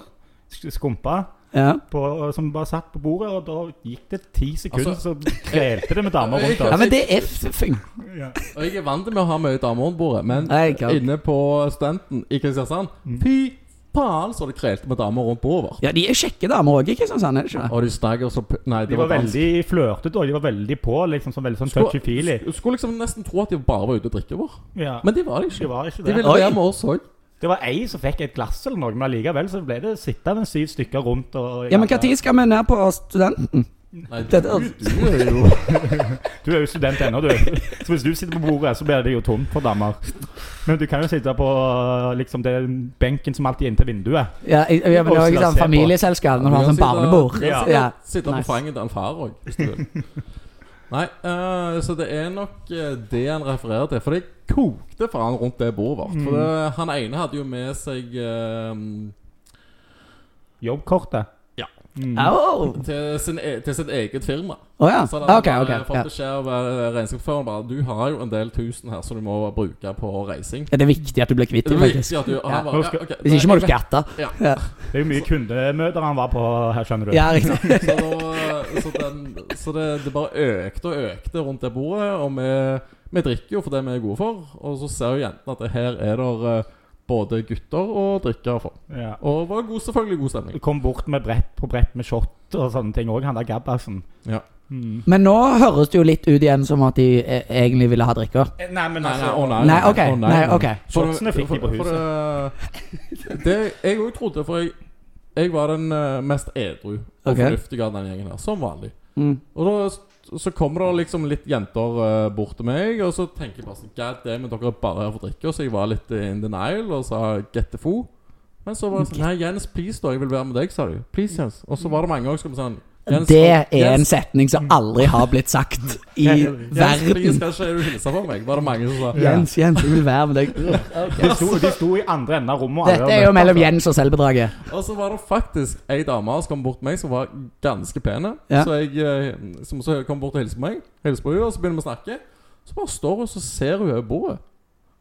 Speaker 5: sk- skumpa
Speaker 3: Ja.
Speaker 5: på, som bare satt på bordet, og da gikk det ti sekunder,
Speaker 2: Altså-
Speaker 5: så krelte det med damer rundt
Speaker 3: ja,
Speaker 5: oss.
Speaker 3: men det er fing.
Speaker 5: Ja.
Speaker 2: Og jeg er vant til med å ha mye damer rundt bordet, men
Speaker 3: Nei, ikke alt.
Speaker 2: inne på studenten i Kristiansand Fy faen, så det krelte med damer rundt bordet vårt.
Speaker 3: Ja, de er kjekke damer òg, ikke Kristiansand? Er det ikke det?
Speaker 2: Og de stagg og så p- Nei, det
Speaker 5: De var
Speaker 2: dansk.
Speaker 5: veldig flørtete, og de var veldig på. liksom sånn, Veldig sånn touchy-feely.
Speaker 2: Skulle, skulle liksom nesten tro at de bare var ute og drikke vår,
Speaker 5: Ja.
Speaker 2: men de var det
Speaker 5: Det
Speaker 2: ikke.
Speaker 5: var ikke
Speaker 2: De
Speaker 5: det.
Speaker 2: ville
Speaker 3: Oi.
Speaker 2: være med oss òg.
Speaker 5: Det var ei som fikk et glass eller noe, men allikevel så ble det sittende syv stykker rundt. Og
Speaker 3: Ja, men når skal vi ned på studenten?
Speaker 2: Nei, du,
Speaker 3: Det- det-
Speaker 2: du er jo
Speaker 5: Du er jo student ennå, du. Så hvis du sitter på bordet, så blir det jo tomt for damer. Men du kan jo sitte på liksom den benken som alltid er inntil vinduet.
Speaker 3: Ja, jeg, jeg, jeg,
Speaker 5: Og
Speaker 3: jeg,
Speaker 5: så la oss
Speaker 3: sånn
Speaker 5: se på.
Speaker 3: familieselskap når du har sånn barnebord.
Speaker 2: Ja.
Speaker 3: Ja.
Speaker 2: Sitte på
Speaker 3: Nice.
Speaker 2: fanget til en far òg, hvis du vil. Nei, eh, så det er nok eh, det han refererer til. For det kokte faen rundt det bordet vårt. For det, han ene hadde jo med seg eh,
Speaker 5: Jobbkortet.
Speaker 2: Ja.
Speaker 5: Mm.
Speaker 3: Au!
Speaker 2: til, sin e til sitt eget firma.
Speaker 3: Å oh, ja.
Speaker 2: Så
Speaker 3: Ah, Ok,
Speaker 2: han
Speaker 3: ok.
Speaker 2: hadde fått
Speaker 3: Ja.
Speaker 2: beskjed av eh, regnskapsføreren bare Du har jo en del tusen her som du må bruke på reising.
Speaker 3: Ja, Det er viktig at du blir kvitt
Speaker 2: Det
Speaker 3: dem,
Speaker 2: er
Speaker 3: faktisk.
Speaker 2: viktig at du og
Speaker 3: Ja.
Speaker 2: han bare,
Speaker 5: Nå
Speaker 2: ja,
Speaker 5: skal-
Speaker 2: ok,
Speaker 3: Hvis
Speaker 2: nei,
Speaker 3: ikke må du
Speaker 2: jeg vet-
Speaker 3: skatte.
Speaker 2: Ja.
Speaker 3: Ja.
Speaker 5: Det er jo mye kundemøter han var på her, skjønner du.
Speaker 3: ja, riktig.
Speaker 2: Så, da, så, den, så det, det bare økte og økte rundt det bordet, og vi, vi drikker jo for det vi er gode for. Og så ser jo jentene at det her er det både gutter og drikkere for.
Speaker 5: Ja.
Speaker 2: Og det var god, selvfølgelig god stemning.
Speaker 5: Kom bort med brett på brett med shot og sånne ting òg, han der Gabbersen.
Speaker 2: Ja.
Speaker 5: Mm.
Speaker 3: Men nå høres det jo litt ut igjen som at de eh, egentlig ville ha drikker.
Speaker 5: Eh, Nei, men
Speaker 2: Nei,
Speaker 5: altså
Speaker 2: nei, å nei.
Speaker 3: Nei, ok.
Speaker 2: å
Speaker 3: Nei, ok.
Speaker 2: For-
Speaker 5: Shotsene fikk de på
Speaker 2: for- For, det, det jeg òg trodde, for jeg, jeg var den eh, mest edru og
Speaker 3: Ok.
Speaker 2: fornuftige av den gjengen her, som vanlig.
Speaker 3: Mm.
Speaker 2: Og da s- så kommer det liksom litt jenter eh, bort til meg, og så tenker jeg bare sånn God damn, dere er bare her for å drikke. Og så jeg var litt eh, in denial og sa get the foo. Men så var det sånn Nei, Jens, please, da. Jeg vil være med deg, sa du. Please, Jens. Og så var det mange ganger som sånn Jens,
Speaker 3: Det
Speaker 2: Jens,
Speaker 3: er en setning som aldri har blitt sagt i
Speaker 2: Jens,
Speaker 3: verden.
Speaker 2: please, kan ikke du hilse på meg? Var det mange som sa.
Speaker 3: Jens, Jens, jeg vil være med deg.
Speaker 5: de sto, de sto i andre enden av rommet. og alle
Speaker 3: Dette er jo
Speaker 5: møtte
Speaker 3: mellom
Speaker 5: oss.
Speaker 3: Jens og selvbedraget.
Speaker 2: Og så var det faktisk ei dame som kom bort til meg som var ganske pen.
Speaker 3: Ja.
Speaker 2: Så jeg eh, som så kom bort og hilste på meg. Hilste på henne, og så begynner vi å snakke. Så bare står hun og så ser hun over bordet.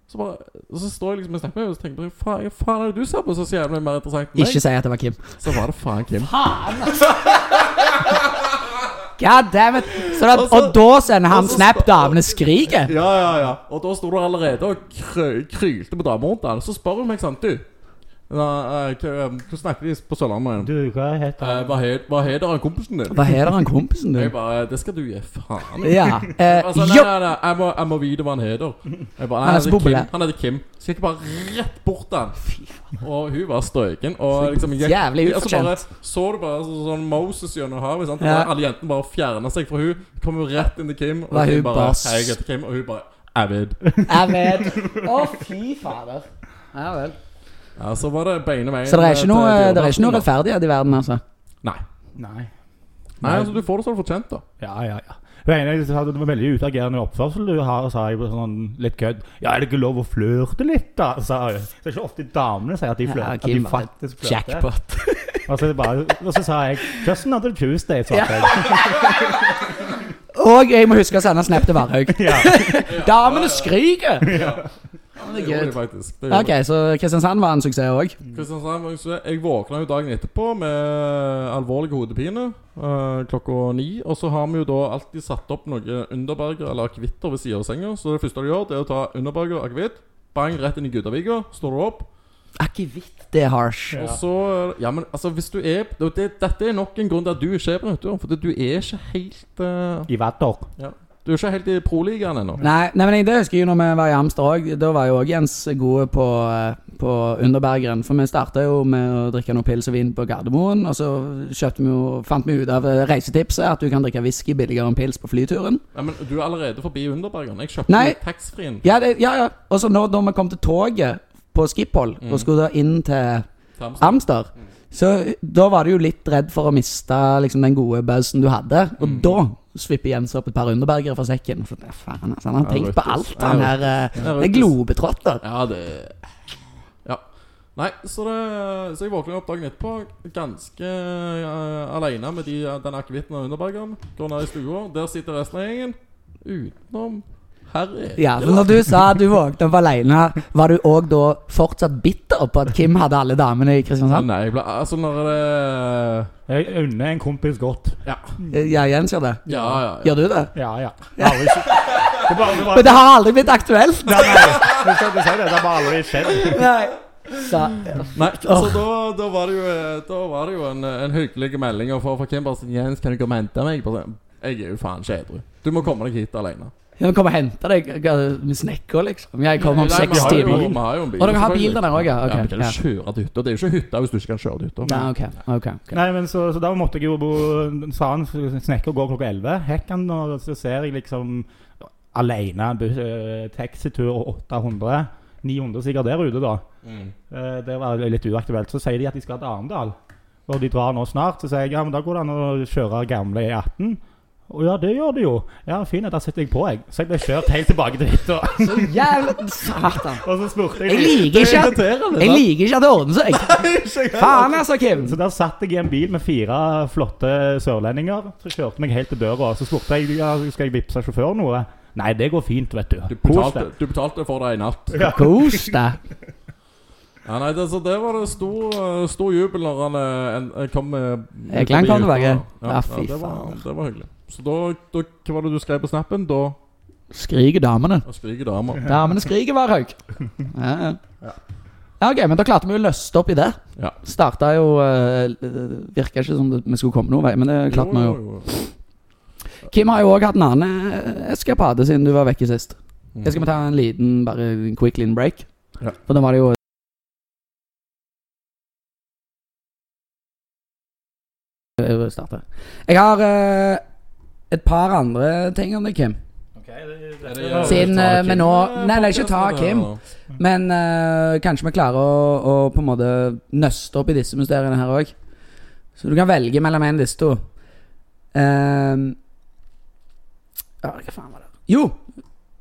Speaker 2: Så, bare, og så står jeg liksom og snakker med henne og så tenker jeg, faen, hva faen er det du ser på? Så er så jævlig mer interessant enn meg.
Speaker 3: Ikke si at det var Kim.
Speaker 2: Så var det faen Kim.
Speaker 3: God damn it. Så da,
Speaker 2: Og så-
Speaker 3: og da sender han
Speaker 2: og så-
Speaker 3: snap damene skriker.
Speaker 2: Ja, ja, ja. Og da sto du allerede og krø krylte med damer rundt der. Så spør hun meg sånn Du, na, eh, hva hva snakker de på Sørlandet?
Speaker 5: Du, hva heter
Speaker 2: Uh,
Speaker 5: han?
Speaker 2: hva het- hva heter han kompisen din?
Speaker 3: Hva heter han kompisen
Speaker 2: Jeg
Speaker 3: din?
Speaker 2: bare Det skal du gi faen i.
Speaker 3: Ja. Eh,
Speaker 2: Altså, nei,
Speaker 3: jo.
Speaker 2: nei, nei, jeg må, jeg må vite hva han heter. Jeg bare, nei,
Speaker 3: Han er
Speaker 2: han,
Speaker 3: så
Speaker 2: heter Kim,
Speaker 3: populær.
Speaker 2: han heter Kim. Så gikk jeg bare rett bort til han. Og hun var strøken. Og liksom gikk,
Speaker 3: jævlig
Speaker 2: altså, bare, Så du bare så, sånn Moses gjennom havet? Sant?
Speaker 3: Ja.
Speaker 2: Der Alle jentene bare fjerna seg fra hun Kom jo rett inn til Kim, og
Speaker 3: Var
Speaker 2: Kim
Speaker 3: hun
Speaker 2: bare
Speaker 3: bare s-
Speaker 2: Hei, jeg heter Kim. Og hun bare Jeg vet.
Speaker 3: Jeg vet. Å, fy fader. Ja vel.
Speaker 2: Ja, så var det beine veien.
Speaker 3: Så det er ikke
Speaker 2: til
Speaker 3: noe, det er ikke
Speaker 2: dyreparken,
Speaker 3: noe
Speaker 2: da.
Speaker 3: rettferdighet i verden, altså?
Speaker 2: Nei.
Speaker 5: Nei.
Speaker 2: Nei, altså Du får det som fortjent, da.
Speaker 5: Ja, ja, ja. Hun ene sa at det var veldig utagerende oppførsel du har, sa jeg på sånn litt kødd. Ja, er det ikke lov å flørte litt, da? sa hun. Så det er ikke ofte damene sier at de
Speaker 3: Ja,
Speaker 5: flørter. at
Speaker 3: Kim
Speaker 5: de
Speaker 3: var
Speaker 5: faktisk flørter.
Speaker 3: Jackpot.
Speaker 5: Og så, er det bare, og så sa jeg 'Just another Tuesday', sa jeg.
Speaker 3: Og jeg må huske å sende snap til Varhaug.
Speaker 5: Ja.
Speaker 3: Damene skriker!
Speaker 2: Det
Speaker 3: gøy.
Speaker 2: gjorde de faktisk. Det gjorde
Speaker 3: Ok, så Kristiansand var en suksess òg.
Speaker 2: Kristiansand var jo så- Jeg våkna jo dagen etterpå med alvorlig hodepine eh, klokka ni. Og så har vi jo da alltid satt opp noe underberger eller akevitter ved siden av senga. Så det første du gjør, det er å ta underberger og akevitt. Bang, rett inn i Gudaviga. Står du opp.
Speaker 3: Akevitt, det er harsh.
Speaker 2: Og så Ja, men altså, hvis du er det, det, Dette er nok en grunn til at du ikke er på Nøttur. For du er ikke helt eh,
Speaker 5: I vatter.
Speaker 2: Du er ikke helt i proligaen ennå.
Speaker 3: Nei, nei, men jeg- Det husker jeg jo når vi var i Hamster òg. Da var jo òg Jens gode på, eh, på Underbergeren. For vi starta jo med å drikke noe pils og vin på Gardermoen. Og så kjøpte vi jo, fant vi ut av eh, reisetipset at du kan drikke whisky billigere enn pils på flyturen.
Speaker 2: Ja, men du er allerede forbi underbergeren. Jeg
Speaker 3: Nei.
Speaker 2: kjøpte taxfree-en.
Speaker 3: Ja, det, ja, ja. Og så nå da vi kom til toget på Schiphol
Speaker 2: Mm.
Speaker 3: og skulle da inn til
Speaker 2: Tamsen.
Speaker 3: Amster. Så da var du jo litt redd for å miste liksom, den gode bausen du hadde. Og
Speaker 2: Mm.
Speaker 3: da svipper Jens opp et par underbergere fra sekken. For det er faen, altså, han har
Speaker 2: Ja,
Speaker 3: tenkt på
Speaker 2: røttes.
Speaker 3: alt, han
Speaker 2: Ja,
Speaker 3: her. eh,
Speaker 2: Ja,
Speaker 3: Det er globetrotter.
Speaker 2: Ja, det Ja. Nei, så, det, så jeg våkner opp dagen etterpå ganske eh, alene med de, den akevitten og underbergeren. Går ned i stua. Der sitter resten av gjengen. Utenom Harry.
Speaker 3: Ja, for når du sa at du våknet opp alene, var du òg da fortsatt bitter på at Kim hadde alle damene i Kristiansand?
Speaker 2: Nei, jeg ble, altså når det
Speaker 5: Jeg unner en kompis godt.
Speaker 2: Mm.
Speaker 3: Ja, Jens gjør det.
Speaker 2: Ja, ja. ja.
Speaker 3: Gjør du det?
Speaker 5: Ja, ja. Det har aldri skjedd. Det er bare, det er bare,
Speaker 3: Men det har aldri blitt aktuelt!
Speaker 5: Nei, nei, du skal ikke si det. Det har bare aldri skjedd.
Speaker 3: Nei. Så,
Speaker 2: Nei, så da, da var det jo, eh, da var det jo en, en hyggelig melding å få fra Kim. Bare sånn 'Jens, kan du komme og hente meg?' Bare sånn, Jeg er jo faen ikke edru. Du må komme deg hit alene.
Speaker 3: jeg kommer og henter deg hva- med snekker, liksom. Jeg kommer om
Speaker 2: Nei, vi
Speaker 3: seks
Speaker 2: har jo-
Speaker 3: timer.
Speaker 2: Vi har jo en bil.
Speaker 3: Og dere har
Speaker 2: selvfølgelig.
Speaker 3: bil der òg, ja?
Speaker 2: Ja, men
Speaker 3: Ok.
Speaker 2: kan
Speaker 3: Ja.
Speaker 2: du kjøre til hytta? Det er jo ikke hytta hvis du ikke kan kjøre til hytta.
Speaker 3: Nei, ok. ok, ok.
Speaker 5: Nei, men så, så da måtte jeg jo bo Sa han snekker går klokka 11. Hekk han, og så ser jeg liksom alene bus- eh, taxitur og 800. 900 sikkert der ute, da.
Speaker 2: Mm.
Speaker 5: Eh, Det var litt uaktuelt. Så sier de at de skal til Arendal. Og de drar nå snart. Så sier jeg ja, men da går det an å kjøre gamle E18. Å ja, det gjør det jo. Ja, fint, da setter jeg på, jeg. Så jeg ble kjørt helt tilbake til hytta.
Speaker 3: Så jævlig satan.
Speaker 5: Og så spurte
Speaker 3: Jeg
Speaker 5: jeg de.
Speaker 3: liker ikke at Jeg liker ikke at det ordner seg. Faen, altså, Kim.
Speaker 5: Så der satt jeg i en bil med fire flotte sørlendinger. Så kjørte meg helt til døra, og så spurte jeg ja, skal jeg vippse sjåføren noe. Nei, det går fint, vet du.
Speaker 2: Du
Speaker 5: Kos
Speaker 2: betalte,
Speaker 5: deg.
Speaker 2: du betalte for det i natt. Ja.
Speaker 3: Kos deg.
Speaker 2: nei, det, så det var det stor, eh, stor jubel når han eh, en, eh, kom med
Speaker 3: Ekeland kom tilbake.
Speaker 2: Ja,
Speaker 3: Ja,
Speaker 2: ja,
Speaker 3: fy
Speaker 2: det, var,
Speaker 3: faen.
Speaker 2: det var hyggelig. Så da, da Hva var det du skrev på snappen? Da
Speaker 3: Skriker damene.
Speaker 2: da skriker damer.
Speaker 3: Damene skriker, Varhaug. Ja, ja. ja, ok, men da klarte vi jo å løste opp i det.
Speaker 2: Ja.
Speaker 3: Starta jo uh, Virka ikke som det, vi skulle komme noen vei, men det klarte vi jo.
Speaker 2: Jo, jo, jo.
Speaker 3: Kim har jo òg hatt en annen eh, eskapade siden du var vekke sist.
Speaker 2: Mm.
Speaker 3: Jeg skal vi ta en liten bare en quick lean break?
Speaker 2: Ja.
Speaker 3: For da var det jo Jeg starter. Jeg har eh, et par andre ting om deg, Kim. Siden, eh, men nå- nei, nei, ikke ta Kim. Men eh, kanskje vi klarer å, å på en måte nøste opp i disse mysteriene her òg. Så du kan velge mellom en av disse to. Ehm, ja, hva faen var det? Jo,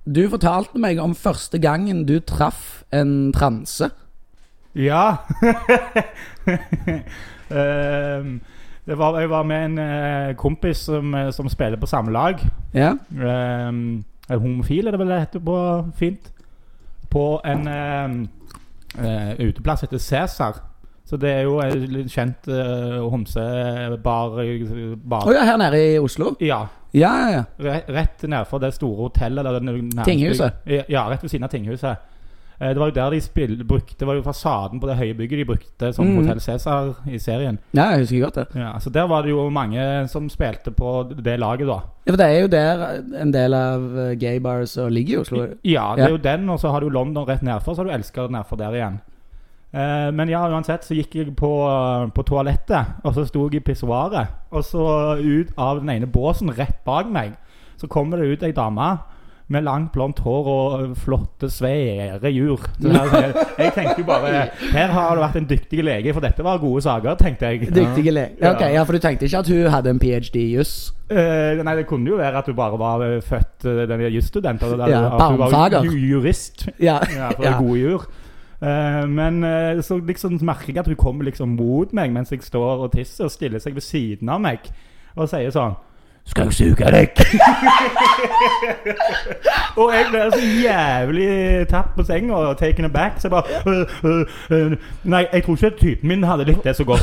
Speaker 3: du fortalte meg om første gangen du traff en transe.
Speaker 5: Ja. Ehm, det var, jeg var med en eh, kompis som, eh, som spiller på samme lag.
Speaker 3: Ja,
Speaker 5: Ehm, er homofil, er det vel det heter på fint? På en ehm, eh, uteplass heter Cæsar. Så det er jo en litt kjent eh, homsebar eh,
Speaker 3: Å
Speaker 5: bar.
Speaker 3: ja, her nede i Oslo?
Speaker 5: Ja.
Speaker 3: Ja, ja, ja.
Speaker 5: Re- Rett nedfor det store hotellet. Der den nærmeste-
Speaker 3: Tinghuset?
Speaker 5: Ja, rett ved siden av tinghuset. Eh, Det var jo der de spill, brukte Det var jo fasaden på det høye bygget de brukte som
Speaker 3: Mhm.
Speaker 5: Hotell Cæsar i serien.
Speaker 3: ja jeg husker godt det.
Speaker 5: Ja, så der var det jo mange som spilte på det laget, da.
Speaker 3: Ja, For det er jo der en del av eh, gay bars og ligger i Oslo.
Speaker 5: Ja, det
Speaker 3: Ja.
Speaker 5: er jo den, og så har du London rett nedfor, så har du Elsker nedfor der igjen. Eh, men ja, uansett så gikk jeg på, på toalettet, og så sto jeg i pissoaret. Og så ut av den ene båsen rett bak meg, så kommer det ut ei dame med langt, blondt hår og flotte, svære jur. Så jeg, jeg tenkte jo bare Her har det vært en dyktig lege, for dette var gode saker, tenkte jeg.
Speaker 3: Dyktige lege. Ja, ok, ja, for du tenkte ikke at hun hadde en ph.d. i juss?
Speaker 5: Eh, nei, det kunne jo være at du bare var eh, født eh, den er jusstudent. og det-
Speaker 3: Ja,
Speaker 5: at du var
Speaker 3: barnfager.
Speaker 5: ju- jurist.
Speaker 3: Ja.
Speaker 5: Ja, for det
Speaker 3: Ja.
Speaker 5: er gode jur. Eh, men eh, så liksom merker jeg at hun kommer liksom mot meg mens jeg står og tisser, og stiller seg ved siden av meg og sier sånn Skal jeg suge deg? og jeg blir så jævlig tatt på senga og taken aback. Så jeg bare «Øh, øh, øh, Nei, jeg tror ikke typen min hadde likt det så godt.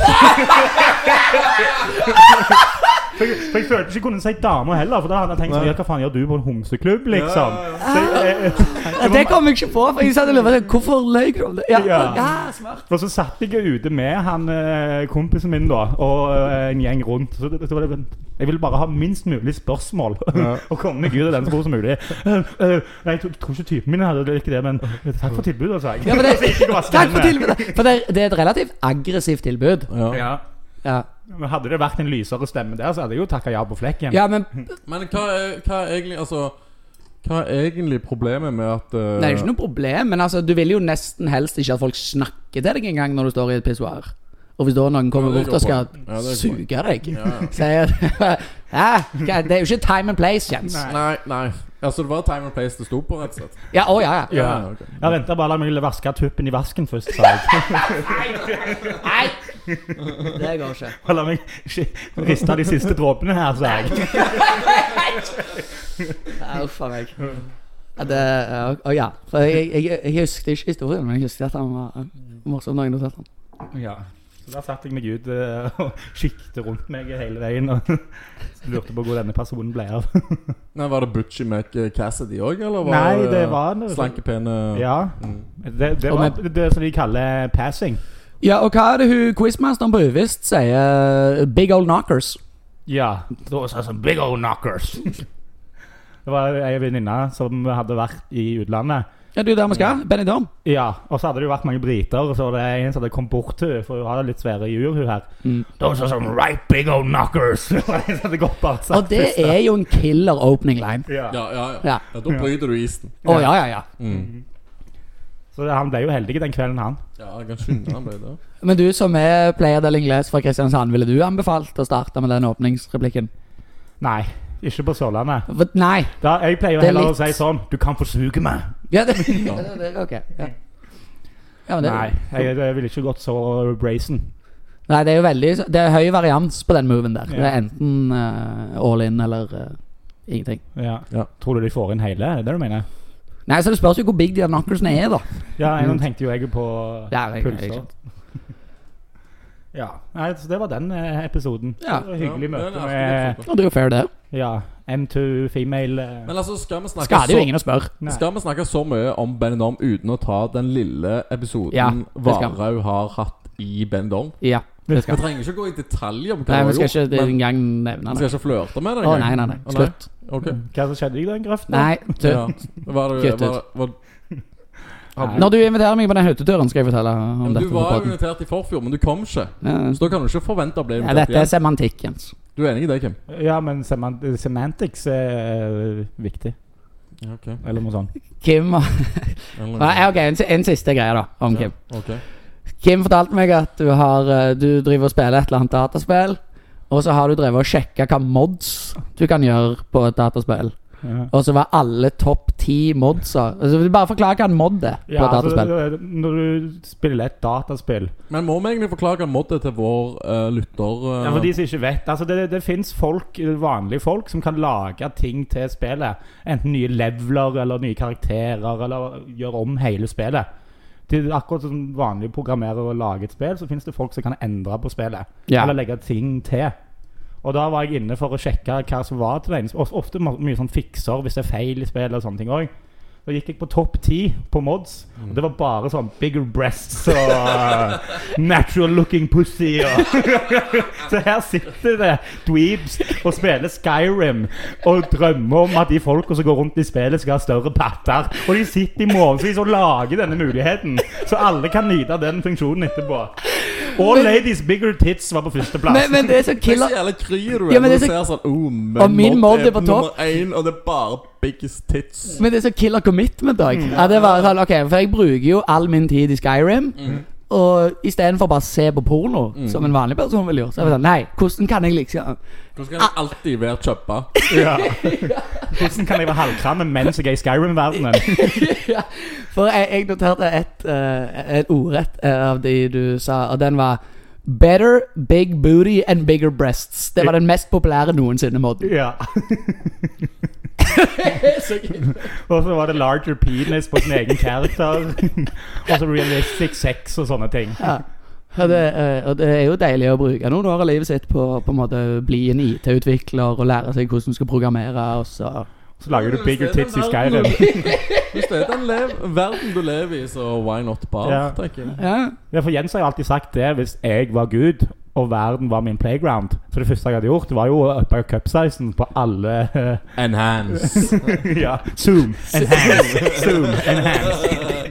Speaker 5: For jeg, for jeg følte ikke jeg kunne si dame heller, for da hadde jeg tenkt sånn, ja, hva faen gjør du på en homseklubb, liksom? Så jeg- jeg-
Speaker 3: Ja, det kom jeg ikke på, for jeg satt og lurte på hvorfor løy du om det? Ja, ja.
Speaker 5: Ja.
Speaker 3: smart.
Speaker 5: Og så satt jeg jo ute med han eh, kompisen min da og eh, en gjeng rundt. Så, det- så var det, jeg ville bare ha minst mulig spørsmål og komme meg ut av den så fort som mulig. Eh, eh, nei, jeg tro- tror ikke typen min hadde ikke det, men takk for tilbudet, sa jeg.
Speaker 3: Ja, men det-
Speaker 5: Så ikke bare
Speaker 3: Takk for
Speaker 5: stemme.
Speaker 3: tilbudet. For det, det er et relativt aggressivt tilbud.
Speaker 2: Ja.
Speaker 5: Ja.
Speaker 3: Ja,
Speaker 5: Men hadde det vært en lysere stemme der, så hadde jeg jo takka ja på flekken.
Speaker 3: ja men
Speaker 2: Men hva er, hva er egentlig Altså Hva er egentlig problemet med at eh,
Speaker 3: Nei, det er ikke noe problem, men altså, du vil jo nesten helst ikke at folk snakker til deg engang når du står i et pissoar. Og hvis da noen kommer
Speaker 2: Ja, det er
Speaker 3: bort og skal
Speaker 2: godt poeng. Ja, det er godt
Speaker 3: suge deg,
Speaker 2: Ja, ja.
Speaker 3: sier Hæ? Hva- Det er jo ikke time and place, Jens.
Speaker 2: Nei, nei. Altså, det var time and place det sto på, rett og slett.
Speaker 3: Ja, å ja, ja.
Speaker 2: Ja, ok.
Speaker 5: Jeg venta bare la meg vaske tuppen i vasken først, sa jeg.
Speaker 3: Nei! Det går ikke.
Speaker 5: Og La meg ikke riste av de siste dråpene her, sa jeg.
Speaker 3: Ja, Uff a meg. Ja, det, ja, å ja. For jeg, jeg, jeg husker ikke historien, men jeg husker at han var eh, morsom. da jeg noterte han.
Speaker 5: Ja. Så da satte jeg meg ut eh, og kikket rundt meg hele veien og lurte på hvor denne personen ble av.
Speaker 2: Nei, Var det Butchie Mac eh, Cassidy òg, eller var
Speaker 5: Nei, det var en-
Speaker 2: slankepene
Speaker 5: Ja.
Speaker 2: Mm.
Speaker 5: Det, det
Speaker 3: Og
Speaker 5: var
Speaker 3: med-
Speaker 5: det som de kaller passing.
Speaker 3: Ja, og hva er det hun quizmasteren på Uvisst sier? Big old knockers.
Speaker 5: Ja. Det var sånn big old knockers. Det var ei venninne som hadde vært i utlandet.
Speaker 3: Ja, det er jo der vi skal. Benny Dorm.
Speaker 5: Ja, og så hadde det jo vært mange briter, og så var det en som hadde kommet bort til henne, for hun hadde litt svære jur, hun her.
Speaker 3: Mm.
Speaker 5: Det var sånn right big old knockers! Det var en som hadde gått bare
Speaker 3: Og det er jo en killer opening line.
Speaker 5: Ja.
Speaker 2: Ja, ja, ja.
Speaker 3: Ja.
Speaker 2: ja Da bryter du isen.
Speaker 3: Å ja, ja, ja.
Speaker 5: Mhm.
Speaker 2: Mm.
Speaker 5: Så han ble jo heldig den kvelden, han.
Speaker 2: Ja, jeg kan skynde han ble det.
Speaker 3: Men du som er player del Ingles fra Kristiansand, ville du anbefalt å starte med den åpningsreplikken?
Speaker 5: Nei, ikke på Sørlandet.
Speaker 3: For, nei.
Speaker 5: Da, jeg pleier jo
Speaker 3: Det er
Speaker 5: heller å
Speaker 3: litt-
Speaker 5: si sånn Du kan få suge meg.
Speaker 3: Ja, det, ja. det, det ok. Ja. Ja, men det,
Speaker 5: Nei, jeg, jeg ville ikke gått så brazen.
Speaker 3: nei, det er jo veldig Det er høy varians på den moven der.
Speaker 5: Ja.
Speaker 3: Det er enten eh, all in eller eh, ingenting.
Speaker 5: Ja.
Speaker 2: Ja.
Speaker 5: Tror du de får inn hele? Er det det du mener?
Speaker 3: Nei, så det spørs jo hvor big de der knockersene er, da.
Speaker 5: Ja, en gang tenkte jo jeg på
Speaker 3: Mm. Ja, det er greit,
Speaker 5: pulser.
Speaker 3: ikke
Speaker 5: Ja. Nei, så det var den eh, episoden.
Speaker 3: Ja.
Speaker 5: Det var et Hyggelig
Speaker 2: Ja, det er en
Speaker 5: møte
Speaker 2: artig
Speaker 5: med
Speaker 2: episode.
Speaker 3: Og det er jo fair, det.
Speaker 5: Ja, M2 female eh,
Speaker 2: Men altså, skal vi snakke
Speaker 3: Skader jo ingen å spørre.
Speaker 5: Nei.
Speaker 2: Skal vi snakke så mye om Ben Norm uten å ta den lille episoden
Speaker 3: Ja,
Speaker 2: ja,
Speaker 3: det skal vi.
Speaker 2: Varhaug har hatt i Ben Norm?
Speaker 3: Ja.
Speaker 2: Vi
Speaker 3: skal vi.
Speaker 2: trenger ikke gå i detalj om hva
Speaker 3: Nei,
Speaker 2: hun
Speaker 3: vi
Speaker 2: har
Speaker 3: skal
Speaker 2: gjort.
Speaker 3: ikke
Speaker 2: men
Speaker 3: engang nevne
Speaker 2: vi
Speaker 3: det.
Speaker 2: skal ikke flørte med det
Speaker 3: Å nei, nei, nei.
Speaker 2: Å, nei?
Speaker 3: Slutt.
Speaker 2: Ok.
Speaker 5: Hva som skjedde i den grøften?
Speaker 3: Nei, tull.
Speaker 2: Ja. Var det,
Speaker 3: Kutt ut.
Speaker 2: var, var,
Speaker 5: Nei.
Speaker 3: Når du inviterer meg på den hytteturen, skal jeg fortelle om
Speaker 2: men
Speaker 3: dette.
Speaker 2: du
Speaker 3: på
Speaker 2: var jo
Speaker 3: podden.
Speaker 2: invitert i forfjor, men du kom ikke.
Speaker 3: Ja, ja.
Speaker 2: Så da kan du ikke forvente å bli
Speaker 3: ja,
Speaker 2: invitert
Speaker 3: dette er
Speaker 2: igjen.
Speaker 3: semantikk, Jens.
Speaker 2: Du er enig i det, Kim?
Speaker 5: Ja, men semant semantics er eh, viktig.
Speaker 2: Ja, ok.
Speaker 5: Eller noe sånt.
Speaker 3: Kim og-
Speaker 2: Eller-
Speaker 3: Nei, Ok, en, si- en siste greie, da, om Kim.
Speaker 2: Ja, ok.
Speaker 3: Kim fortalte meg at du, har, eh, du driver og spiller et eller annet dataspill. Og så har du drevet og sjekka hva mods du kan gjøre på et dataspill.
Speaker 5: Ja.
Speaker 3: Og så var alle topp ti modser. Altså, vil du bare forklare hva en mod er på
Speaker 5: Ja,
Speaker 3: et dataspill.
Speaker 5: altså, når du spiller et dataspill
Speaker 2: Men må vi egentlig forklare moddet til vår eh, lytter? eh,
Speaker 5: Ja, For de som ikke vet altså Det, det fins folk, vanlige folk som kan lage ting til spillet. Enten nye leveler eller nye karakterer, eller gjøre om hele spillet. Det er akkurat som vanlige programmerere lager et spill, så fins det folk som kan endre på spillet.
Speaker 3: Ja.
Speaker 5: Eller legge ting til. Og da var jeg inne for å sjekke hva som var til den. Og Ofte ma- mye sånn fikser hvis det er feil i spillet og sånne ting òg. Da gikk jeg på topp ti på mods, og det var bare sånn bigger breasts og uh, natural looking pussy og så her sitter det dweebs og spiller Skyrim og drømmer om at de folka som går rundt i spillet, skal ha større patter. Og de sitter i månedsvis og lager denne muligheten, så alle kan nyte av den funksjonen etterpå. All ladies bigger tits var på
Speaker 3: Men,
Speaker 5: førsteplass.
Speaker 3: men det er så
Speaker 2: Tenk så
Speaker 3: killer
Speaker 2: jævla kry du
Speaker 3: Ja, men
Speaker 2: er når du
Speaker 3: det er
Speaker 2: ser sånn oh, men
Speaker 3: Og min
Speaker 2: Mod
Speaker 3: Mod er på topp.
Speaker 2: nummer én, og det er bare biggest tits.
Speaker 3: Men det er så killer commitment òg. Ja, det var sånn, ok, for jeg bruker jo all min tid i Skyrim. Og istedenfor bare se på porno, som en vanlig person ville gjort, så er det sånn Nei, hvordan kan jeg liksom
Speaker 2: Hvordan skal det alltid være kjøppa?
Speaker 5: Ja. Hvordan kan jeg være halvkramme mens jeg er i Skyrim-verdenen?
Speaker 3: For jeg, jeg noterte et, eh, et ordrett eh, av de du sa, og den var Better big booty and bigger breasts. Det var den mest populære noensinne modden.
Speaker 5: Ja. og så var det larger penis på sin egen karakter. og så realistic sex og sånne ting.
Speaker 3: Ja. Og, det, eh, og det er jo deilig å bruke noen år av livet sitt på å på en måte bli en IT-utvikler og lære seg hvordan du skal programmere. Og så.
Speaker 5: Så lager du bigger tits i Skyrim.
Speaker 2: Hvis det er den lev verden du lever i, så why not bar?
Speaker 5: Ja.
Speaker 2: tenker jeg.
Speaker 3: Ja.
Speaker 5: Ja, for Jens har jo alltid sagt det hvis jeg var Gud og verden var min playground. Så det første jeg hadde gjort, var jo å uppe cupsizen på alle eh,
Speaker 2: Enhance.
Speaker 5: Ja, Zoom, enhance, zoom, enhance.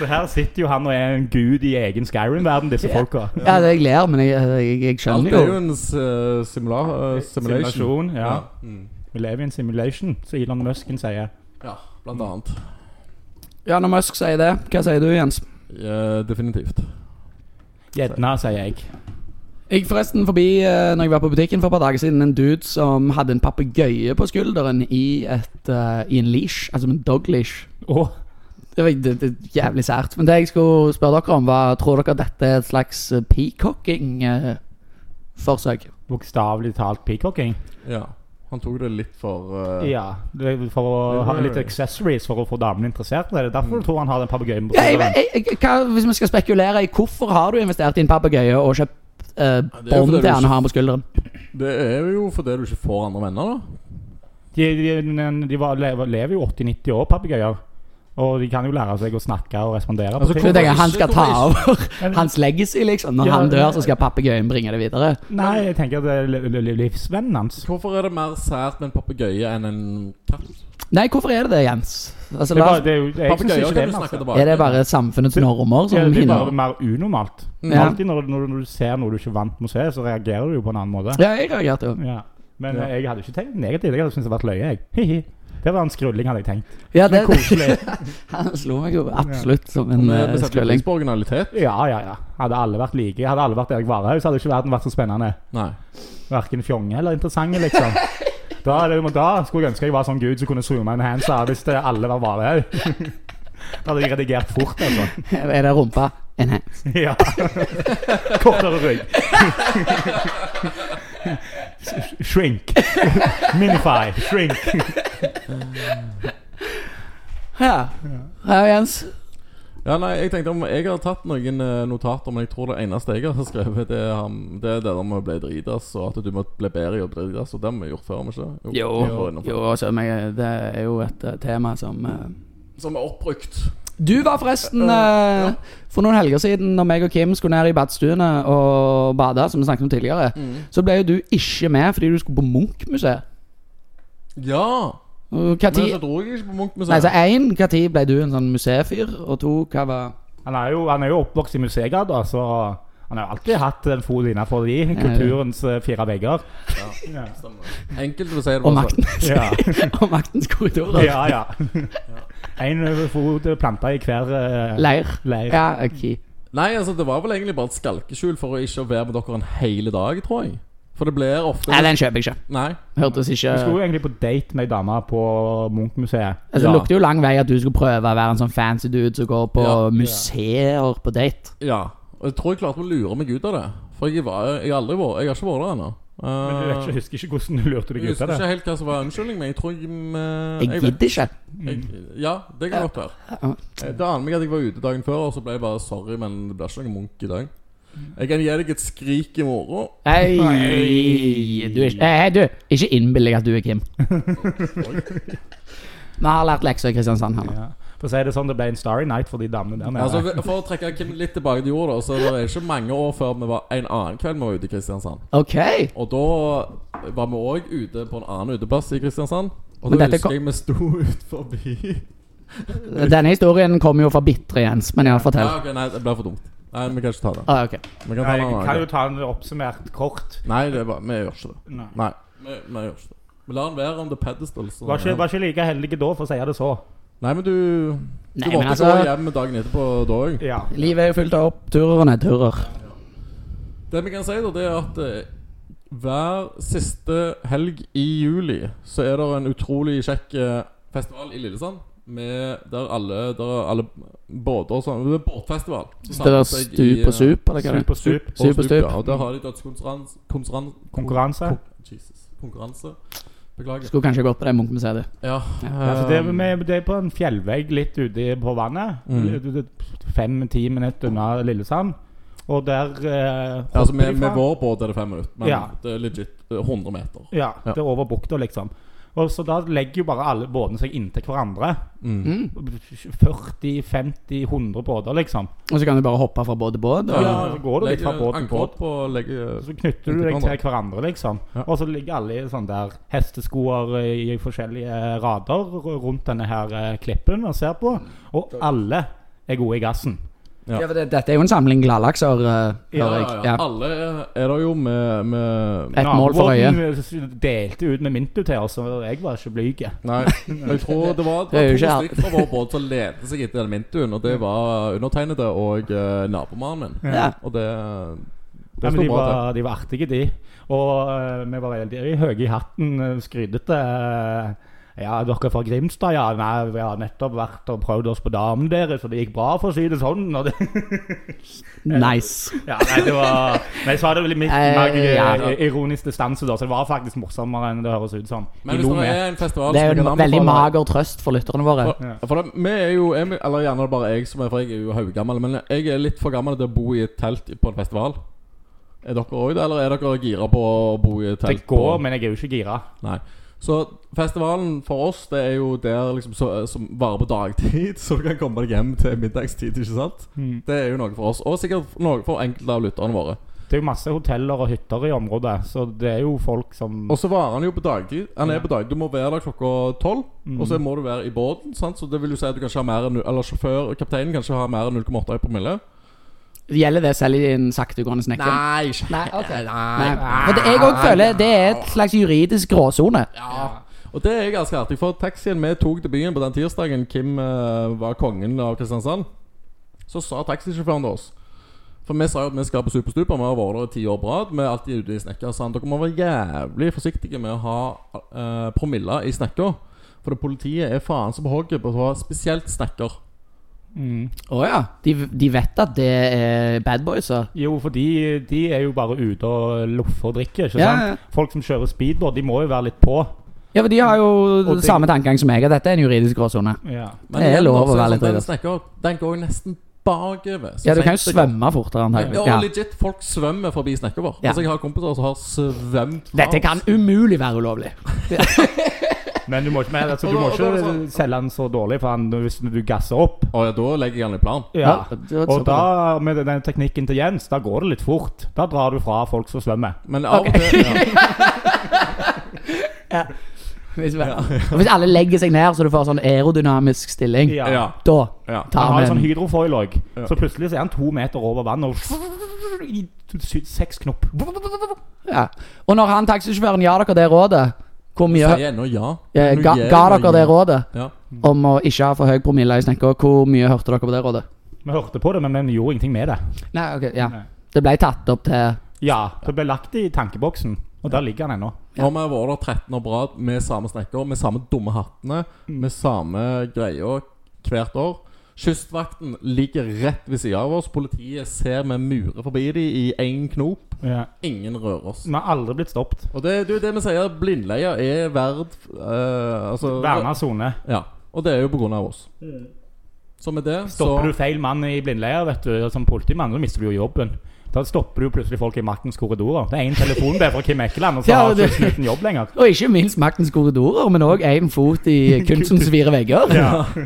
Speaker 5: Så her sitter jo han og er en gud i egen Skyrim-verden, disse folka.
Speaker 3: Ja, det- jeg ler, men jeg, jeg, jeg
Speaker 2: Alt
Speaker 3: skjønner
Speaker 2: er jo
Speaker 3: jo.
Speaker 2: en s- eh, simula eh, simulation.
Speaker 5: Simulasjon, ja.
Speaker 2: Mm.
Speaker 5: Vi lever i en simulation, som Elon Musken sier.
Speaker 2: ja. Blant annet.
Speaker 3: Ja, når Musk sier det, hva sier du, Jens?
Speaker 2: Eh, definitivt.
Speaker 5: Gjedna, sier jeg.
Speaker 3: Jeg gikk forresten forbi eh, når jeg var på butikken for et par dager siden en dude som hadde en papegøye på skulderen i, et, eh, i en leash, altså en dogleash.
Speaker 5: Å,
Speaker 3: Det var det, det, er jævlig sært. Men det jeg skulle spørre dere om, var Tror dere dette er et slags eh, peacocking-forsøk?
Speaker 5: bokstavelig talt peacocking.
Speaker 2: Ja. Han tok det litt for eh,
Speaker 5: Ja, det er for å ha litt accessories for å få damene interessert. Det er derfor du tror han har den papegøyen på
Speaker 3: Ja, jeg,
Speaker 5: skulderen.
Speaker 3: jeg, jeg, hva, hvis vi skal spekulere i hvorfor har du investert i en papegøye og kjøpt eh,
Speaker 2: det er jo
Speaker 3: bånd
Speaker 2: fordi
Speaker 3: til
Speaker 2: du
Speaker 3: han og har den på skulderen?
Speaker 2: Det er jo fordi du ikke får andre venner, da.
Speaker 5: De, de, de var, lever, lever jo 80-90 år, papegøyer. Og de kan jo lære seg å snakke og respondere. på
Speaker 2: Altså,
Speaker 5: ting.
Speaker 3: Så jeg tenker, Han skal ta
Speaker 2: Hvorfor
Speaker 3: over hans legacy, liksom. Når
Speaker 5: Ja,
Speaker 3: han dør,
Speaker 5: ja.
Speaker 3: så skal papegøyen bringe det videre.
Speaker 5: Nei, jeg tenker at det er li- li- livsvennen hans.
Speaker 2: Hvorfor er det mer sært med en papegøye enn en katt?
Speaker 3: Nei, hvorfor er det det, Jens? Altså,
Speaker 5: Det er
Speaker 3: la,
Speaker 5: bare, det er jo, jeg synes
Speaker 2: Papegøyer
Speaker 5: ikke det altså.
Speaker 2: kan
Speaker 5: er
Speaker 2: du snakke
Speaker 5: masse.
Speaker 2: tilbake
Speaker 3: er det bare samfunnets normer
Speaker 5: Ja,
Speaker 3: som
Speaker 5: det er bare
Speaker 3: hindrer
Speaker 5: mer unormalt.
Speaker 3: Ja.
Speaker 5: Alltid når, når, når du ser noe du ikke er vant med å se, så reagerer du jo på en annen måte.
Speaker 3: Ja, jeg reagerte jo.
Speaker 5: Ja. Men
Speaker 2: Ja.
Speaker 5: eh, jeg hadde ikke tenkt negativt. Jeg hadde syntes det var løye, jeg. Hihi. Det var en skrulling, hadde jeg tenkt.
Speaker 3: Ja, det,
Speaker 5: Men koselig.
Speaker 3: han slo meg jo absolutt som en
Speaker 2: Men
Speaker 3: eh,
Speaker 2: vi setter
Speaker 3: skrulling.
Speaker 2: pris på originalitet.
Speaker 5: Ja, ja, ja. Hadde alle vært like, hadde alle vært Erik Varhaug, så hadde ikke verden vært så spennende.
Speaker 2: Nei.
Speaker 5: Verken fjonge eller interessante, liksom. Da, er det, da skulle jeg ønske jeg var sånn gud som kunne zoome en hands av hvis det alle var Varhaug. Da hadde jeg redigert fort, altså.
Speaker 3: Er det rumpa? En hand.
Speaker 5: Ja. Kortere rygg. Shrink. Minify. Shrink.
Speaker 3: Ja. ja, Jens.
Speaker 2: Ja, nei, Jeg tenkte om Jeg har tatt noen eh, notater, men jeg tror det eneste jeg har skrevet, det er, um, det, er det der med å bli dritas, og at du må bli bedre i å dritas. Og det har vi gjort før, har vi ikke det?
Speaker 3: Jo,
Speaker 2: vi var innom-
Speaker 3: jo altså, meg, det er jo et eh, tema som eh,
Speaker 2: Som er oppbrukt.
Speaker 3: Du var forresten eh, For noen helger siden, når meg og Kim skulle ned i badstuene og bade, som vi snakket om tidligere, så ble jo du ikke med fordi du skulle på Munch-museet.
Speaker 2: Ja!
Speaker 3: Og hva
Speaker 2: Men
Speaker 3: tid-
Speaker 2: så dro jeg ikke på
Speaker 3: Nei, så
Speaker 2: Munch-museet.
Speaker 3: én, når ble du en sånn museefyr? Og to, hva var
Speaker 5: Han er jo, han er jo oppvokst i Museegata, så han har jo alltid hatt en fot innenfor de kulturens eh, fire vegger. Ja.
Speaker 2: Enkelt å si det
Speaker 3: Og
Speaker 2: bare sånn.
Speaker 3: makten.
Speaker 5: Ja.
Speaker 3: og maktens korridorer.
Speaker 5: ja, ja. En eh, fot planta i hver eh,
Speaker 3: Leir.
Speaker 5: leir.
Speaker 3: Ja, ok.
Speaker 2: Nei, altså, det var vel egentlig bare et skalkeskjul for å ikke være med dere en hele dag, tror jeg. For det blir ofte
Speaker 3: Nei, den kjøper jeg ikke.
Speaker 2: Nei.
Speaker 3: Hørtes ikke
Speaker 5: Jeg skulle jo egentlig på date med ei dame på Munch-museet.
Speaker 3: Altså,
Speaker 2: Ja.
Speaker 3: Det lukter jo lang vei at du skulle prøve å være en sånn fancy dude som går på
Speaker 2: Ja.
Speaker 3: museer på date.
Speaker 2: Ja. Og jeg tror jeg klarte å lure meg ut av det. For jeg, var, jeg, har aldri vært, jeg har ikke vært der ennå. Eh,
Speaker 5: Men du vet ikke, husker ikke hvordan du lurte
Speaker 2: jeg
Speaker 5: deg ut
Speaker 2: husker
Speaker 5: av det?
Speaker 2: ikke helt hva som var unnskyldning, men jeg tror jeg, mm,
Speaker 3: Jeg
Speaker 2: jeg vet-
Speaker 3: gidder ikke.
Speaker 2: jeg, Ja, det kan godt være. Eh, Det aner meg at jeg var ute dagen før, og så ble jeg bare sorry, men det blir ikke noen Munch i dag. Jeg kan gi deg et skrik i morgen.
Speaker 3: Hei, du, er ikke- Hei, hei, du. Ikke innbill deg at du er Kim. Vi har lært lekser i Kristiansand her nå.
Speaker 5: Ja. For å si det sånn, det ble en Starry Night for de damene der
Speaker 2: Ja, Altså,
Speaker 5: nede.
Speaker 2: vi- for å trekke Kim litt tilbake til jorda, så det er ikke mange år før vi var en annen kveld vi var ute i Kristiansand.
Speaker 3: Ok.
Speaker 2: Og da var vi òg ute på en annen uteplass i Kristiansand. Og
Speaker 3: Men
Speaker 2: da
Speaker 3: dette
Speaker 2: husker
Speaker 3: kom-
Speaker 2: jeg vi sto ut forbi
Speaker 3: Denne historien kommer jo fra bitre Jens, men ja,
Speaker 2: Ja,
Speaker 3: fortell.
Speaker 2: ok, Nei, det ble for dumt. Nei, Vi kan ikke ta det.
Speaker 3: Ah, ok.
Speaker 2: Vi kan ta
Speaker 5: Nei,
Speaker 2: det en
Speaker 5: Jeg
Speaker 2: annen
Speaker 5: kan jo
Speaker 2: gang.
Speaker 5: ta en oppsummert kort.
Speaker 2: Nei, det er bare, vi gjør ikke det.
Speaker 5: Nei.
Speaker 2: Nei, vi, vi gjør ikke det. Vi lar den være on the pedestal. Så
Speaker 5: Var ikke, var ikke like heldige da, for å si det så.
Speaker 2: Nei, men du Du
Speaker 3: Nei, men
Speaker 2: måtte
Speaker 3: altså-
Speaker 2: gå hjem dagen etterpå da òg.
Speaker 5: Ja.
Speaker 3: Livet er jo fullt av oppturer og nedturer.
Speaker 2: Det vi kan si, da, det er at eh, hver siste helg i juli så er det en utrolig kjekk eh, festival i Lillesand. Med der alle, der er alle båter og sånn. Det er båtfestival. Så
Speaker 3: Det der
Speaker 2: samles jeg i,
Speaker 3: stup
Speaker 2: eh,
Speaker 3: og sup, eller hva det
Speaker 5: Stup og stup.
Speaker 2: og
Speaker 3: Stup og stup.
Speaker 2: Ja, og der har de dødskonkurranse konkurran-
Speaker 5: Konkurranse.
Speaker 2: kon- Jesus. Konkurranse.
Speaker 3: er.
Speaker 2: Beklager.
Speaker 3: Skulle kanskje gått på det Munch-museet, du.
Speaker 2: Ja.
Speaker 5: Ja, så det, er-
Speaker 2: ehm,
Speaker 5: vi- det er på en fjellvegg litt ute på vannet.
Speaker 2: Mm.
Speaker 5: Fem-ti minutter unna Lillesand. Og der eh,
Speaker 2: ja, altså
Speaker 5: hopper
Speaker 2: med,
Speaker 5: de
Speaker 2: med
Speaker 5: fra.
Speaker 2: vår båt er det fem minutter, men
Speaker 5: Ja.
Speaker 2: det er legit eh, 100 meter.
Speaker 5: Ja,
Speaker 2: Ja.
Speaker 5: det er over bukta, liksom. Og så da legger jo bare alle båtene seg inntil hverandre.
Speaker 2: Mm.
Speaker 5: Mm. 40-50-100 båter, liksom.
Speaker 3: Og så kan du bare hoppe fra båt til båt. og-
Speaker 5: Ja. så går det litt fra båt til båt.
Speaker 2: Ankerbåt på legge
Speaker 5: Så knytter du deg til hverandre, liksom.
Speaker 2: Ja.
Speaker 5: Og så ligger alle i sånne der hesteskoer i
Speaker 2: Mm.
Speaker 5: forskjellige rader rundt denne her eh, klippen og ser på. Og alle er gode i gassen.
Speaker 2: Ja.
Speaker 3: Ja, for det, dette er jo en samling gladlakser, eh,
Speaker 2: Ja,
Speaker 3: hører jeg.
Speaker 2: ja, ja.
Speaker 3: Ja.
Speaker 2: Alle er, er der jo med, med
Speaker 3: Et mål for øye.
Speaker 5: Naboen eh, delte ut med Mintu til oss, og jeg var ikke blyg.
Speaker 2: Nei, jeg tror det var, det
Speaker 3: Det er
Speaker 2: var
Speaker 3: jo
Speaker 2: to
Speaker 3: ikke alt.
Speaker 2: stykker fra vår båt som lente seg etter den mintuen, og det var undertegnede og eh, nabomannen min.
Speaker 3: Ja.
Speaker 2: Og det
Speaker 5: Ja,
Speaker 2: Det
Speaker 5: men
Speaker 2: sto
Speaker 5: de,
Speaker 2: bra til.
Speaker 5: var, de var artige, de. Og eh, vi var veldig høye i hatten, eh, skrydete. eh, Ja, dere er fra Grimstad, ja. Nei, vi har nettopp vært og prøvd oss på damene deres, og det gikk bra, for å si det sånn. Og det,
Speaker 3: Nice.
Speaker 5: ja, nei, det var Men jeg sa det vel i mitt
Speaker 3: Eh,
Speaker 5: mer eh,
Speaker 3: ja.
Speaker 5: ironisk distanse, da, så det var faktisk morsommere enn det høres ut som. De
Speaker 2: Men
Speaker 5: lo
Speaker 2: hvis det
Speaker 5: med.
Speaker 2: er en festival
Speaker 3: Det er
Speaker 2: som
Speaker 3: jo
Speaker 2: jeg kan
Speaker 3: en veldig
Speaker 2: anbefale-
Speaker 3: mager trøst for lytterne våre.
Speaker 2: For, for det, vi er jo er vi- Eller gjerne bare jeg som er For jeg er jo haugammel. Men jeg er litt for gammel til å bo i et telt på en festival. Er dere òg det, eller er dere gira på å bo i et
Speaker 5: Det
Speaker 2: telt?
Speaker 5: går,
Speaker 2: på,
Speaker 5: men jeg er jo ikke gira.
Speaker 2: Nei. Så festivalen for oss, det er jo der liksom så, som varer på dagtid, så du kan komme deg hjem til middagstid, ikke sant? Det er jo noe for oss, og sikkert noe for enkelte av lytterne våre.
Speaker 5: Det er jo masse hoteller og hytter i området, så det er jo folk som
Speaker 2: Og så varer han jo på dagtid. Han er
Speaker 5: Ja.
Speaker 2: på dag. Du må være der klokka tolv, og så må du være i båten. Sant? Så det vil jo si at du kanskje har mer enn nu- Eller sjåfør og kapteinen kanskje har mer enn 0,8 i promille.
Speaker 3: Gjelder det selv i en saktegående snekker?
Speaker 2: Nei, ikke
Speaker 3: Nei, ok. Nei. For det, jeg òg føler det er et slags juridisk gråsone.
Speaker 2: Ja. Og det er ganske artig, for taxien vi tok til byen på den tirsdagen Kim eh, var kongen av Kristiansand, så sa taxisjåføren til oss For vi sa jo at vi skal på Superstuper, vi har vært der i ti år på rad. Vi er alltid ute i snekka. sa han, Dere må være jævlig forsiktige med å ha eh, promiller i snekka. For det politiet er faen så på hogget på å ha spesielt snekker.
Speaker 5: Mm.
Speaker 3: Å ja. De, de vet at det er bad boys. Så.
Speaker 5: Jo, for de, de er jo bare ute og loffer og drikker, ikke
Speaker 3: Ja,
Speaker 5: sant?
Speaker 3: ja.
Speaker 5: Folk som kjører speedboard, de må jo være litt på.
Speaker 3: Ja, for de har jo
Speaker 5: det-
Speaker 3: samme tankegang som jeg, at dette er en juridisk gråsone. Det er
Speaker 2: igjen,
Speaker 3: lov å være
Speaker 2: så er det sånn,
Speaker 3: litt
Speaker 2: Den
Speaker 3: redd.
Speaker 2: snekker, den går jo nesten bakover. så
Speaker 3: Ja, du kan jo
Speaker 2: sent det går.
Speaker 3: svømme fortere,
Speaker 2: Ja,
Speaker 3: antagelig.
Speaker 2: og
Speaker 3: Ja.
Speaker 2: legit, folk svømmer forbi snekker vår.
Speaker 3: Ja.
Speaker 2: Altså, jeg har kompiser som har svømt fra
Speaker 3: Dette
Speaker 2: oss.
Speaker 3: kan umulig være ulovlig.
Speaker 5: Men du må ikke, men, altså, du må
Speaker 2: Og da- og da er det
Speaker 5: ikke
Speaker 2: sånn-
Speaker 5: selge den så dårlig, for han, hvis du gasser opp
Speaker 2: Å ja, da legger jeg han i plan.
Speaker 5: ja.
Speaker 3: det var
Speaker 5: Og
Speaker 3: så bra.
Speaker 5: da, med den teknikken til Jens, da går det litt fort. Da drar du fra folk som svømmer.
Speaker 2: Men av og til ja.
Speaker 3: Hvis, og hvis alle legger seg ned, så du får sånn aerodynamisk stilling,
Speaker 5: Ja.
Speaker 2: Ja.
Speaker 3: da
Speaker 2: ja.
Speaker 5: Han
Speaker 3: tar
Speaker 5: har jo
Speaker 3: vi
Speaker 5: sånn
Speaker 3: en
Speaker 5: hydrofoil òg,
Speaker 2: Ja.
Speaker 5: så plutselig så er han to meter over vannet og i sy- seks knop.
Speaker 3: ja. Og når han taxisjåføren ga dere det rådet Hvor mye
Speaker 2: Sier ennå ja.
Speaker 3: eh,
Speaker 2: Nå
Speaker 3: ga,
Speaker 2: gir
Speaker 3: ga dere
Speaker 2: jeg
Speaker 3: det
Speaker 2: meg
Speaker 3: rådet
Speaker 2: Ja.
Speaker 3: om å ikke ha for høy promille i snekka? Hvor mye hørte dere på det rådet?
Speaker 5: Vi hørte på det, men vi gjorde ingenting med det.
Speaker 3: Nei, ok, ja
Speaker 5: Nei.
Speaker 3: Det ble tatt opp til
Speaker 5: Ja, Det ble lagt i tankeboksen, og der ligger han ennå.
Speaker 2: Når vi har vært der 13 år på rad med samme snekker, med samme dumme hattene, med samme greia hvert år Kystvakten ligger rett ved sida av oss. Politiet ser vi murer forbi de i én knop.
Speaker 5: Ja.
Speaker 2: Ingen rører oss.
Speaker 5: Vi har aldri blitt stoppet.
Speaker 2: Og det det er jo det vi sier. Blindleia er verd eh, Altså
Speaker 5: Verna sone.
Speaker 2: Ja. Og det er jo på grunn av oss. Så med det,
Speaker 5: Stopper
Speaker 2: så
Speaker 5: du feil mann i blindleia vet du, som politimann, så mister du jo jobben. Da stopper du plutselig folk i maktens korridorer. Det er én telefon der fra Kim Ekkeland, og så
Speaker 3: Ja,
Speaker 5: har
Speaker 3: det-
Speaker 5: ikke Knuten jobb lenger.
Speaker 3: Og ikke minst maktens korridorer, men òg én fot i kunstens fire vegger.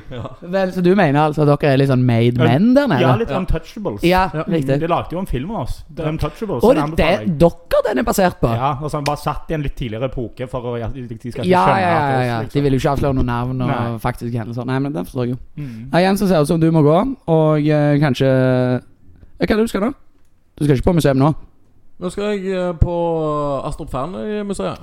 Speaker 3: Vel, så du mener altså at dere er litt sånn made men der nede?
Speaker 5: Ja, litt sånn Mm, Untouchables.
Speaker 3: Ja,
Speaker 2: Ja.
Speaker 3: riktig.
Speaker 5: De lagde jo en film av oss. The Untouchables.
Speaker 3: Og
Speaker 5: den
Speaker 3: det
Speaker 5: anbefaler
Speaker 3: er
Speaker 5: jeg.
Speaker 3: dere den er basert på?
Speaker 5: Ja, og så han bare satt i en litt tidligere epoke for å de skal ikke
Speaker 3: Ja, ja,
Speaker 5: skjønne at
Speaker 3: ja,
Speaker 5: det er
Speaker 3: ja.
Speaker 5: oss,
Speaker 3: De
Speaker 5: liksom.
Speaker 3: vil jo ikke avsløre noen navn og
Speaker 5: Nei.
Speaker 3: faktiske hendelser. Nei, men den forstår jeg jo.
Speaker 5: Mm.
Speaker 3: Nei, Jens, det ser ut som du må gå, og eh, kanskje Ja, Hva er det du skal nå? Du skal ikke på museum nå?
Speaker 2: Nå skal jeg eh, på Astrup Fearnley-museet.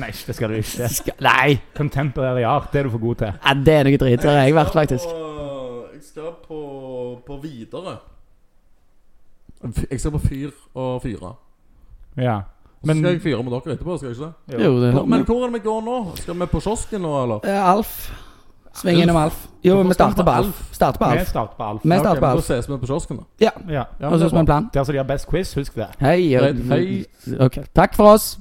Speaker 5: Nei, det skal du ikke.
Speaker 3: Skal, nei!
Speaker 5: Contemporary art, det er du for god til.
Speaker 3: Ja, det er noe drit. Der har jeg vært, faktisk.
Speaker 2: Jeg skal på, på Videre. Jeg skal på Fyr og Fyre.
Speaker 5: Ja.
Speaker 2: Men,
Speaker 5: Men-
Speaker 2: skal jeg fyre med dere etterpå? skal jeg ikke det?
Speaker 3: Jo, det
Speaker 2: Hvor- Men hvor er det vi går nå? Skal vi på kiosken nå, eller?
Speaker 3: Eh, Alf. Sving innom Alf. Jo,
Speaker 2: Hvorfor
Speaker 3: vi starter
Speaker 2: skal vi på
Speaker 3: på Alf.
Speaker 2: Alf?
Speaker 3: Starter på
Speaker 5: Vi
Speaker 3: Alf.
Speaker 5: starter på Alf.
Speaker 3: Vi
Speaker 2: Ok,
Speaker 3: starter på
Speaker 2: men Da
Speaker 3: Alf.
Speaker 2: ses vi på kiosken, da.
Speaker 3: Ja.
Speaker 5: Ja. altså
Speaker 2: Ja,
Speaker 3: Og så
Speaker 2: det er
Speaker 3: som en plan.
Speaker 5: Der som de har best quiz, husk det.
Speaker 3: Hei.
Speaker 2: bra.
Speaker 3: og-
Speaker 2: Hei, hei.
Speaker 3: Ok. Takk for oss.